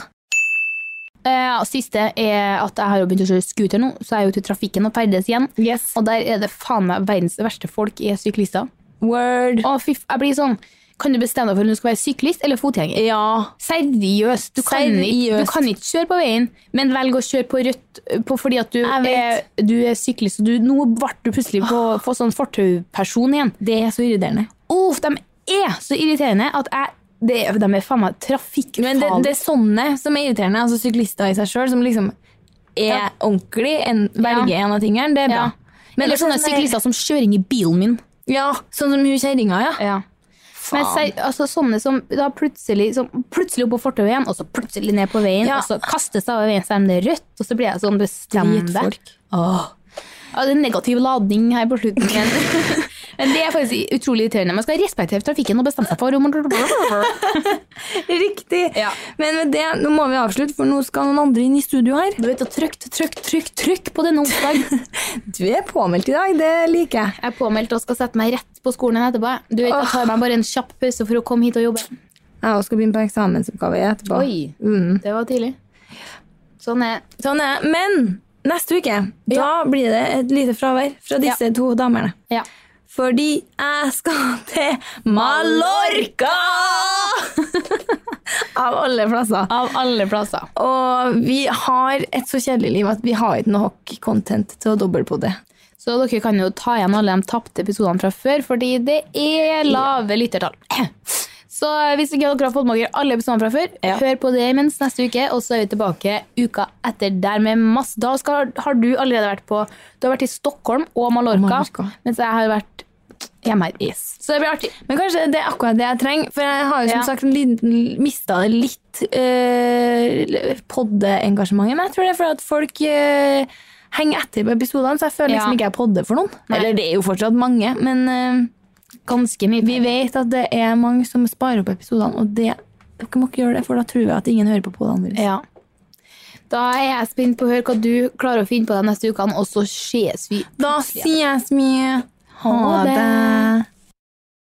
Speaker 1: Eh, og siste er at jeg har jo begynt å kjøre scooter nå, så jeg er jo ute i trafikken og ferdes igjen.
Speaker 2: Yes.
Speaker 1: Og der er det faen meg verdens verste folk er syklister.
Speaker 2: Word.
Speaker 1: Å, fy f- jeg blir sånn Kan du bestemme deg for om du skal være syklist eller fotgjenger?
Speaker 2: Ja.
Speaker 1: Seriøst! Du kan, Ikke,
Speaker 2: Seriøst.
Speaker 1: du kan ikke kjøre på veien, men velg å kjøre på rødt ø, på, fordi at du
Speaker 2: Jeg
Speaker 1: er,
Speaker 2: vet.
Speaker 1: du er syklist. Og du, nå ble du plutselig på, på sånn fortauperson igjen.
Speaker 2: Det er så irriterende.
Speaker 1: Uff, de er så irriterende at jeg det, er- De er faen meg trafikkfarlige.
Speaker 2: Men det, det er sånne som er irriterende. Altså syklister i seg sjøl som liksom er
Speaker 1: Ja.
Speaker 2: ordentlig, en, velger en av tingene. Det er sånn bra.
Speaker 1: Ja. Eller sånne syklister som kjører inn i bilen min.
Speaker 2: Ja, sånn som hun kjerringa, ja.
Speaker 1: Men ser, altså, sånne som da plutselig, som plutselig opp på fortauet igjen, og så plutselig ned på veien,
Speaker 2: Ja.
Speaker 1: og så kastes det av veien selv om det er rødt, og så blir jeg sånn bestemt der.
Speaker 2: Dritfolk. Åh.
Speaker 1: Ja, det er negativ ladning her på slutten. Men, *laughs* men det er faktisk utrolig irriterende. Man skal respektere trafikken og bestemme seg for om
Speaker 2: Riktig.
Speaker 1: Ja.
Speaker 2: Men med det, nå må vi avslutte, for nå skal noen andre inn i studio her.
Speaker 1: Du vet, og Trykk, trykk, trykk, trykk på denne onsdag.
Speaker 2: *laughs* Du er påmeldt i dag, det liker jeg.
Speaker 1: Jeg er påmeldt og skal sette meg rett på skolen igjen etterpå. Du vet, Jeg tar meg bare en kjapp pause for å komme hit og jobbe.
Speaker 2: Jeg også skal begynne på eksamensoppgave etterpå.
Speaker 1: Oi, det var tidlig. Sånn er
Speaker 2: Sånn er det. Men neste uke, da blir det et lite fravær fra disse to damene.
Speaker 1: Ja.
Speaker 2: Fordi jeg skal til *laughs* Mallorca! Av alle plasser.
Speaker 1: Av alle plasser.
Speaker 2: Og vi har et så kjedelig liv at vi har ikke nok content til å dobbeltpodde.
Speaker 1: Så dere kan jo ta igjen alle de tapte episodene fra før, fordi det er lave lyttertall. *clears throat* Så hvis ikke dere har fått med dere alle episodene fra før,
Speaker 2: Ja.
Speaker 1: hør på det imens neste uke, og så er vi tilbake uka etter der med masse. Da skal, har du allerede vært på Du har vært i Stockholm og Mallorca,
Speaker 2: Mallorca.
Speaker 1: mens jeg har vært hjemme her. Så det blir artig.
Speaker 2: Men kanskje det er akkurat det jeg trenger, for jeg har jo som
Speaker 1: Ja.
Speaker 2: sagt en liten- mista det litt eh, poddeengasjementet. Men jeg tror det er fordi at folk eh, henger etter på episodene, så jeg føler
Speaker 1: Ja.
Speaker 2: liksom ikke jeg podder for noen.
Speaker 1: Nei.
Speaker 2: Eller det er jo fortsatt mange, men eh,
Speaker 1: Ganske mye.
Speaker 2: vi vet at det er mange som sparer opp episodene, og det, dere må ikke gjøre det, for da tror jeg at ingen hører på podene våre.
Speaker 1: Ja. Da er jeg spent på å høre hva du klarer å finne på de neste ukene, og så ses vi
Speaker 2: Da sies vi ha
Speaker 1: Ha det.
Speaker 2: det.